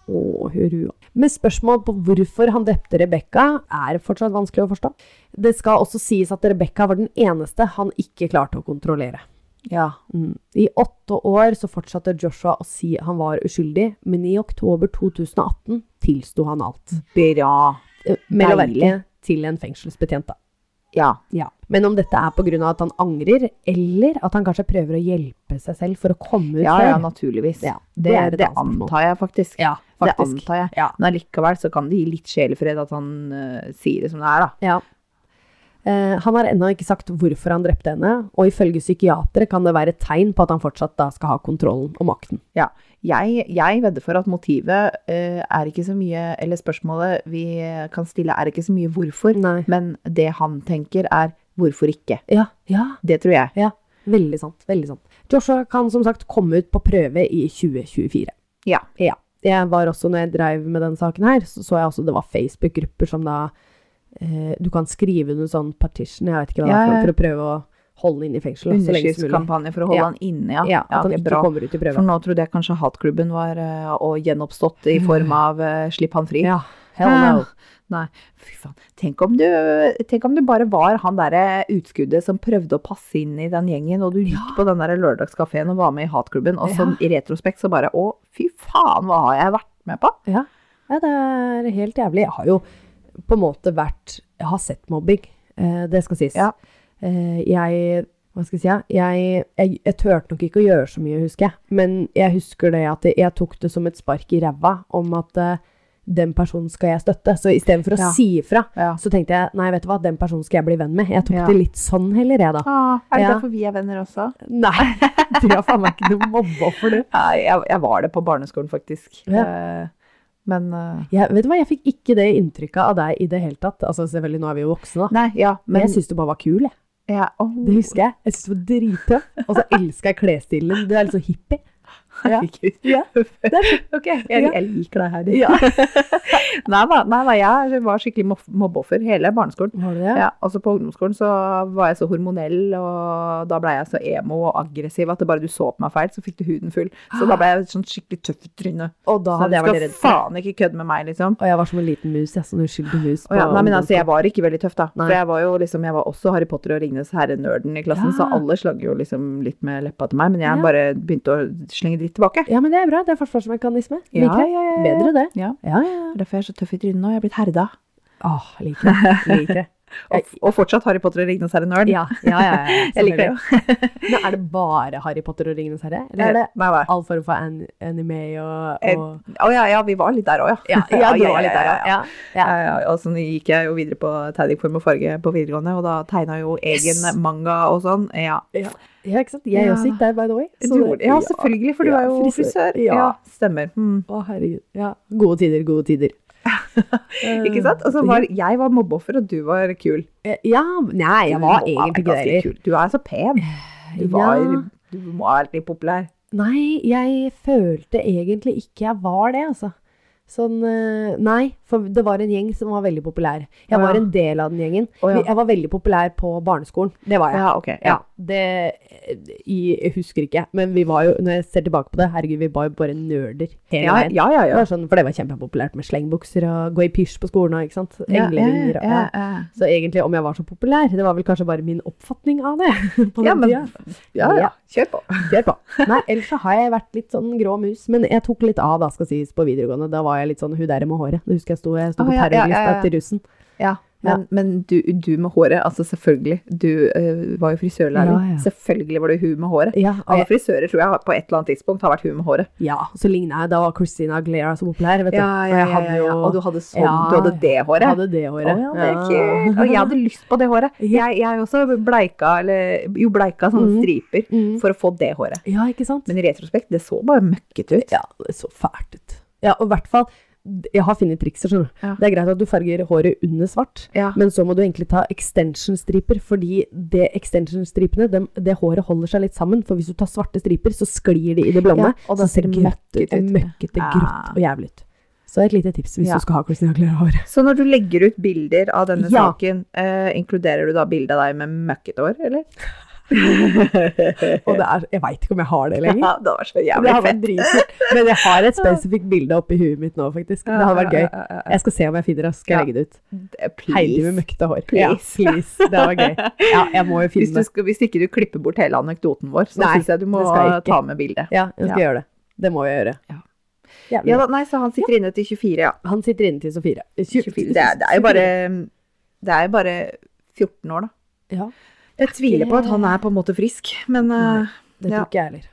[SPEAKER 1] Å, hurra. Med spørsmål på hvorfor han drepte Rebekka, er fortsatt vanskelig å forstå. Det skal også sies at Rebekka var den eneste han ikke klarte å kontrollere.
[SPEAKER 2] Ja.
[SPEAKER 1] Mm. I åtte år så fortsatte Joshua å si han var uskyldig, men i oktober 2018 tilsto han alt.
[SPEAKER 2] Mm. Bra.
[SPEAKER 1] Eh, Med å verke
[SPEAKER 2] Deilig.
[SPEAKER 1] til en fengselsbetjent, da.
[SPEAKER 2] Ja.
[SPEAKER 1] Ja. Men om dette er pga. at han angrer, eller at han kanskje prøver å hjelpe seg selv for å komme ut
[SPEAKER 2] Ja, ja,
[SPEAKER 1] selv.
[SPEAKER 2] naturligvis.
[SPEAKER 1] Ja,
[SPEAKER 2] Det,
[SPEAKER 1] da er det et
[SPEAKER 2] det
[SPEAKER 1] annet spørsmål.
[SPEAKER 2] antar jeg faktisk.
[SPEAKER 1] Ja,
[SPEAKER 2] Det
[SPEAKER 1] faktisk.
[SPEAKER 2] antar jeg.
[SPEAKER 1] Ja.
[SPEAKER 2] Men allikevel så kan det gi litt sjelefred at han eh, sier det som det er, da.
[SPEAKER 1] Ja. Eh, han har ennå ikke sagt hvorfor han drepte henne, og ifølge psykiatere kan det være et tegn på at han fortsatt da skal ha kontrollen og makten.
[SPEAKER 2] Ja. Jeg, jeg vedder for at motivet eh, er ikke så mye Eller spørsmålet vi kan stille, er ikke så mye hvorfor,
[SPEAKER 1] Nei.
[SPEAKER 2] men det han tenker, er hvorfor ikke.
[SPEAKER 1] Ja, ja,
[SPEAKER 2] Det tror jeg.
[SPEAKER 1] ja. Veldig sant. veldig sant. Joshua kan som sagt komme ut på prøve i 2024.
[SPEAKER 2] Ja.
[SPEAKER 1] Ja. Jeg var også, når jeg drev med den saken her, så så jeg også det var Facebook-grupper som da eh, Du kan skrive under sånn partition, jeg vet ikke hva det
[SPEAKER 2] Ja,
[SPEAKER 1] er,
[SPEAKER 2] ja, ja.
[SPEAKER 1] for, for å prøve å holde den inne i fengsel da, så lenge som mulig.
[SPEAKER 2] Underskriftskampanje for å holde
[SPEAKER 1] Ja.
[SPEAKER 2] han inne, ja.
[SPEAKER 1] Ja, At han
[SPEAKER 2] ok,
[SPEAKER 1] ikke
[SPEAKER 2] bra.
[SPEAKER 1] kommer ut i
[SPEAKER 2] For
[SPEAKER 1] prøven.
[SPEAKER 2] nå trodde jeg kanskje hatklubben var eh, og gjenoppstått i form av eh, 'slipp han fri'.
[SPEAKER 1] Ja, hell no.
[SPEAKER 2] Nei, fy faen. Tenk om, du, tenk om du bare var han derre utskuddet som prøvde å passe inn i den gjengen, og du gikk på den der lørdagskafeen og var med i hatklubben, og sånn i retrospekt så bare Å, fy faen, hva har jeg vært med på?
[SPEAKER 1] Ja. ja, det er helt jævlig. Jeg har jo på en måte vært Jeg har sett mobbing, eh, det skal sies.
[SPEAKER 2] Ja.
[SPEAKER 1] Eh, jeg hva skal jeg si, ja? jeg, jeg, jeg turte nok ikke å gjøre så mye, husker jeg. Men jeg husker det at jeg tok det som et spark i ræva om at eh, den personen skal jeg støtte. Så istedenfor å
[SPEAKER 2] Ja.
[SPEAKER 1] si ifra,
[SPEAKER 2] Ja.
[SPEAKER 1] så tenkte jeg nei, vet du hva, den personen skal jeg bli venn med. Jeg tok
[SPEAKER 2] Ja.
[SPEAKER 1] det litt sånn heller, jeg, da.
[SPEAKER 2] Ah, er det
[SPEAKER 1] Ja.
[SPEAKER 2] derfor vi er venner også?
[SPEAKER 1] Nei, du har faen meg ikke noe mobbeoffer, du.
[SPEAKER 2] Nei, jeg, jeg var det på barneskolen, faktisk. Eh, men eh,
[SPEAKER 1] Jeg, vet du hva, jeg fikk ikke det inntrykket av deg i det hele tatt. Altså, selvfølgelig, nå er vi jo voksne, da.
[SPEAKER 2] Nei, ja,
[SPEAKER 1] Men
[SPEAKER 2] men
[SPEAKER 1] jeg syns du bare var kul, jeg.
[SPEAKER 2] ja, åh,
[SPEAKER 1] Det husker jeg. Jeg syns du var drittøff. Og så elsker jeg klesstilen din. Du er litt så hippie. Ja.
[SPEAKER 2] herregud.
[SPEAKER 1] Ja.
[SPEAKER 2] Ok, jeg,
[SPEAKER 1] Ja.
[SPEAKER 2] jeg liker deg her. nei, da, nei da, jeg var skikkelig moff- mobbeoffer hele barneskolen.
[SPEAKER 1] Var du det?
[SPEAKER 2] Ja, altså På ungdomsskolen så var jeg så hormonell, og da blei jeg så emo og aggressiv at det bare du så på meg feil, så fikk du huden full. Så da blei jeg sånn skikkelig tøff i trynet.
[SPEAKER 1] Og da
[SPEAKER 2] Så du
[SPEAKER 1] hadde jeg vært
[SPEAKER 2] skal
[SPEAKER 1] redd for det.
[SPEAKER 2] faen ikke kødde med meg, liksom.
[SPEAKER 1] Og jeg var som en liten mus, jeg. Sånn uskyldig mus.
[SPEAKER 2] Å ja,
[SPEAKER 1] på
[SPEAKER 2] nei, men altså,
[SPEAKER 1] ungdomsskolen.
[SPEAKER 2] jeg var ikke veldig tøff, da.
[SPEAKER 1] Nei.
[SPEAKER 2] For jeg var jo liksom, jeg var også Harry Potter og Ringnes herre-nerden i klassen, så
[SPEAKER 1] Ja.
[SPEAKER 2] alle slang jo liksom litt med leppa til meg, men jeg
[SPEAKER 1] Ja.
[SPEAKER 2] bare begynte å slenge dritt tilbake.
[SPEAKER 1] Ja, men det er bra. Det er forsvarsmekanisme.
[SPEAKER 2] Ja,
[SPEAKER 1] Liker jeg.
[SPEAKER 2] ja, ja, ja.
[SPEAKER 1] Bedre det.
[SPEAKER 2] Ja.
[SPEAKER 1] Ja, ja. ja.
[SPEAKER 2] Derfor er jeg så tøff i trynet nå, jeg er blitt herda.
[SPEAKER 1] Åh, liker det. Liker det.
[SPEAKER 2] Og, og fortsatt Harry Potter og Ringnes herre-nerd.
[SPEAKER 1] Ja, ja, ja. ja
[SPEAKER 2] Jeg liker det jo.
[SPEAKER 1] selvfølgelig. Men er det bare Harry Potter og Ringenes herre? Eller er det
[SPEAKER 2] Nei, nei.
[SPEAKER 1] all form for an anime og,
[SPEAKER 2] Eh,
[SPEAKER 1] og...
[SPEAKER 2] Å ja, ja, vi var litt der òg, ja.
[SPEAKER 1] Ja, ja, du
[SPEAKER 2] ja,
[SPEAKER 1] var litt der,
[SPEAKER 2] ja,
[SPEAKER 1] ja.
[SPEAKER 2] Ja, ja, og så gikk jeg jo videre på tegning, form og farge på videregående, og da tegna jeg jo egen
[SPEAKER 1] Yes.
[SPEAKER 2] manga og sånn. Ja,
[SPEAKER 1] Ja, ikke sant? Jeg
[SPEAKER 2] Ja.
[SPEAKER 1] også gikk der, by the way.
[SPEAKER 2] Du gjorde- ja selvfølgelig, for du
[SPEAKER 1] ja,
[SPEAKER 2] er jo
[SPEAKER 1] frisør.
[SPEAKER 2] frisør.
[SPEAKER 1] Ja.
[SPEAKER 2] stemmer. Mm.
[SPEAKER 1] Å, herregud. Ja. Gode tider, gode tider.
[SPEAKER 2] Ikke sant? Altså, var, jeg var mobbeoffer, og du var kul.
[SPEAKER 1] Eh, Ja, nei, jeg var egentlig ikke det
[SPEAKER 2] ganske
[SPEAKER 1] heller.
[SPEAKER 2] kul. Du er så pen. Du, var,
[SPEAKER 1] Ja.
[SPEAKER 2] du må ha vært litt populær.
[SPEAKER 1] Nei, jeg følte egentlig ikke jeg var det, altså. Sånn eh, Nei, for det var en gjeng som var veldig populær. Jeg
[SPEAKER 2] Å, ja.
[SPEAKER 1] var en del av den gjengen.
[SPEAKER 2] Å, ja.
[SPEAKER 1] Jeg var veldig populær på barneskolen. Det var jeg.
[SPEAKER 2] ok.
[SPEAKER 1] Ja, det jeg, jeg husker ikke, men vi var jo, når jeg ser tilbake på det, herregud, vi var jo bare nerder hele
[SPEAKER 2] Ja,
[SPEAKER 1] veien.
[SPEAKER 2] ja, ja.
[SPEAKER 1] Det
[SPEAKER 2] ja.
[SPEAKER 1] var sånn, for det var kjempepopulært med slengbukser og gå i pysj på skolen og ikke sant? Engleringer og ja.
[SPEAKER 2] ja.
[SPEAKER 1] Så egentlig, om jeg var så populær, det var vel kanskje bare min oppfatning av det. på
[SPEAKER 2] Ja,
[SPEAKER 1] den
[SPEAKER 2] men,
[SPEAKER 1] tida.
[SPEAKER 2] ja, ja.
[SPEAKER 1] Ja.
[SPEAKER 2] Kjør på.
[SPEAKER 1] Kjør på. Nei, ellers så har jeg vært litt sånn grå mus. Men jeg tok litt av, da, skal sies, på videregående. Da var jeg litt sånn hun der med håret. Det husker jeg sto, jeg sto
[SPEAKER 2] Å,
[SPEAKER 1] på
[SPEAKER 2] ja, ja,
[SPEAKER 1] terrorlista
[SPEAKER 2] ja, ja.
[SPEAKER 1] til russen.
[SPEAKER 2] Ja, men, men du, du med håret, altså selvfølgelig. Du eh, var jo frisørlærer.
[SPEAKER 1] Ja, ja.
[SPEAKER 2] Selvfølgelig var du hun med håret.
[SPEAKER 1] Ja, og
[SPEAKER 2] Alle
[SPEAKER 1] jeg,
[SPEAKER 2] frisører tror jeg har- på et eller annet tidspunkt har vært hun med håret.
[SPEAKER 1] ja, så ligna jeg. Da var Christina Aguilera så populær, vet du. Og jeg hadde jo
[SPEAKER 2] Og du hadde sånn,
[SPEAKER 1] Ja,
[SPEAKER 2] du hadde det håret.
[SPEAKER 1] hadde det håret.
[SPEAKER 2] Å, ja, det er kult. Og jeg hadde lyst på det håret. Jeg, jeg også bleika, eller, jo bleika sånne
[SPEAKER 1] Mhm.
[SPEAKER 2] striper
[SPEAKER 1] Mm.
[SPEAKER 2] for å få det håret.
[SPEAKER 1] Ja, ikke sant?
[SPEAKER 2] Men i retrospekt, det så bare møkkete ut.
[SPEAKER 1] Ja, det så fælt ut. Ja, og i hvert fall Jeg har funnet trikset, skjønner du.
[SPEAKER 2] Ja.
[SPEAKER 1] Det er greit at du farger håret under svart.
[SPEAKER 2] Ja.
[SPEAKER 1] Men så må du egentlig ta extension-striper, fordi det extension-stripene, dem- det håret holder seg litt sammen, for hvis du tar svarte striper, så sklir de i det blonde,
[SPEAKER 2] Ja, og da
[SPEAKER 1] så
[SPEAKER 2] ser det møkkete ut.
[SPEAKER 1] møkkete,
[SPEAKER 2] Ja.
[SPEAKER 1] grått og jævlig ut. Så et lite tips hvis
[SPEAKER 2] Ja.
[SPEAKER 1] du skal ha Christina Aguilera-hår.
[SPEAKER 2] Så når du legger ut bilder av denne
[SPEAKER 1] Ja.
[SPEAKER 2] saken, eh, inkluderer du da bilde av deg med møkkete hår, eller?
[SPEAKER 1] Og det er, jeg veit ikke om jeg har det lenger.
[SPEAKER 2] Ja, det var så
[SPEAKER 1] det
[SPEAKER 2] jævlig
[SPEAKER 1] har
[SPEAKER 2] fett.
[SPEAKER 1] vært dritkult. Men jeg har et spesifikt bilde oppi huet mitt nå, faktisk. Det hadde vært gøy.
[SPEAKER 2] Ja, ja, ja,
[SPEAKER 1] Jeg skal se om jeg finner det, så skal jeg legge det ut.
[SPEAKER 2] ja. Please.
[SPEAKER 1] Heidi med møkkete hår. Ja,
[SPEAKER 2] Please.
[SPEAKER 1] please. Det var gøy. Ja, jeg må jo
[SPEAKER 2] Hvis,
[SPEAKER 1] finne
[SPEAKER 2] du
[SPEAKER 1] det.
[SPEAKER 2] skal, hvis ikke du klipper bort hele anekdoten vår, så
[SPEAKER 1] Nei,
[SPEAKER 2] syns jeg du må
[SPEAKER 1] det skal jeg ikke.
[SPEAKER 2] ta med bildet.
[SPEAKER 1] Ja, jeg skal gjøre det. Det må jeg gjøre.
[SPEAKER 2] Ja.
[SPEAKER 1] Jævlig
[SPEAKER 2] Ja da, nei, så han sitter inne til 24, ja.
[SPEAKER 1] Han sitter inne til Sofie.
[SPEAKER 2] 24. Det, er, det er jo bare Det er jo bare 14 år, da.
[SPEAKER 1] Ja,
[SPEAKER 2] Jeg tviler på at han er på en måte frisk, men
[SPEAKER 1] Nei.
[SPEAKER 2] eh,
[SPEAKER 1] det
[SPEAKER 2] Ja.
[SPEAKER 1] tror ikke jeg heller.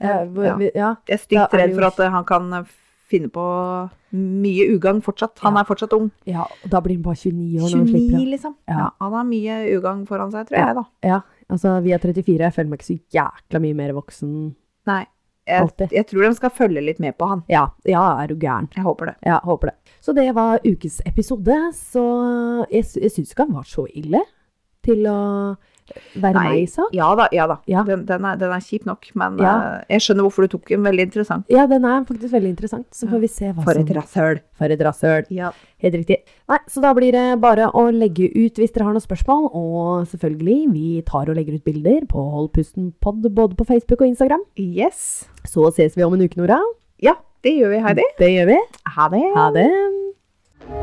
[SPEAKER 2] Ja,
[SPEAKER 1] Eh, hvor-
[SPEAKER 2] ja.
[SPEAKER 1] vi- ja.
[SPEAKER 2] jeg
[SPEAKER 1] Da
[SPEAKER 2] er stygt
[SPEAKER 1] er
[SPEAKER 2] redd
[SPEAKER 1] det jo-
[SPEAKER 2] for at eh, han kan eh, finne på mye ugagn fortsatt. Han
[SPEAKER 1] Ja.
[SPEAKER 2] er fortsatt ung.
[SPEAKER 1] ja, og da blir han bare 29 år når han slipper
[SPEAKER 2] 29,
[SPEAKER 1] han.
[SPEAKER 2] liksom.
[SPEAKER 1] Ja.
[SPEAKER 2] Ja, han har mye ugagn foran seg, tror
[SPEAKER 1] Ja.
[SPEAKER 2] jeg, da.
[SPEAKER 1] Ja, altså vi er 34, jeg føler meg ikke så jækla mye mer voksen.
[SPEAKER 2] Nei. Jeg,
[SPEAKER 1] Alltid.
[SPEAKER 2] jeg tror de skal følge litt med på han.
[SPEAKER 1] Ja, ja, er du gæren.
[SPEAKER 2] Jeg håper det.
[SPEAKER 1] Ja, håper det. Så det var ukes episode, så eh, jeg, sy- jeg syns ikke han var så ille til å være meg i sak.
[SPEAKER 2] Ja da, ja da.
[SPEAKER 1] Ja.
[SPEAKER 2] Den, den, er, den er kjip nok, men
[SPEAKER 1] Ja.
[SPEAKER 2] eh, jeg skjønner hvorfor du tok den. Veldig interessant.
[SPEAKER 1] Ja, den er faktisk veldig interessant, så får vi se hva
[SPEAKER 2] For et
[SPEAKER 1] som
[SPEAKER 2] rasshøl.
[SPEAKER 1] For et rasshøl.
[SPEAKER 2] Ja.
[SPEAKER 1] Helt riktig. Nei, så da blir det bare å legge ut hvis dere har noen spørsmål. Og selvfølgelig, vi tar og legger ut bilder på Hold pusten pod både på Facebook og Instagram.
[SPEAKER 2] Yes.
[SPEAKER 1] Så ses vi om en uke, Nora.
[SPEAKER 2] Ja, det gjør vi, Heidi.
[SPEAKER 1] Det gjør vi.
[SPEAKER 2] Ha det.
[SPEAKER 1] Ha det.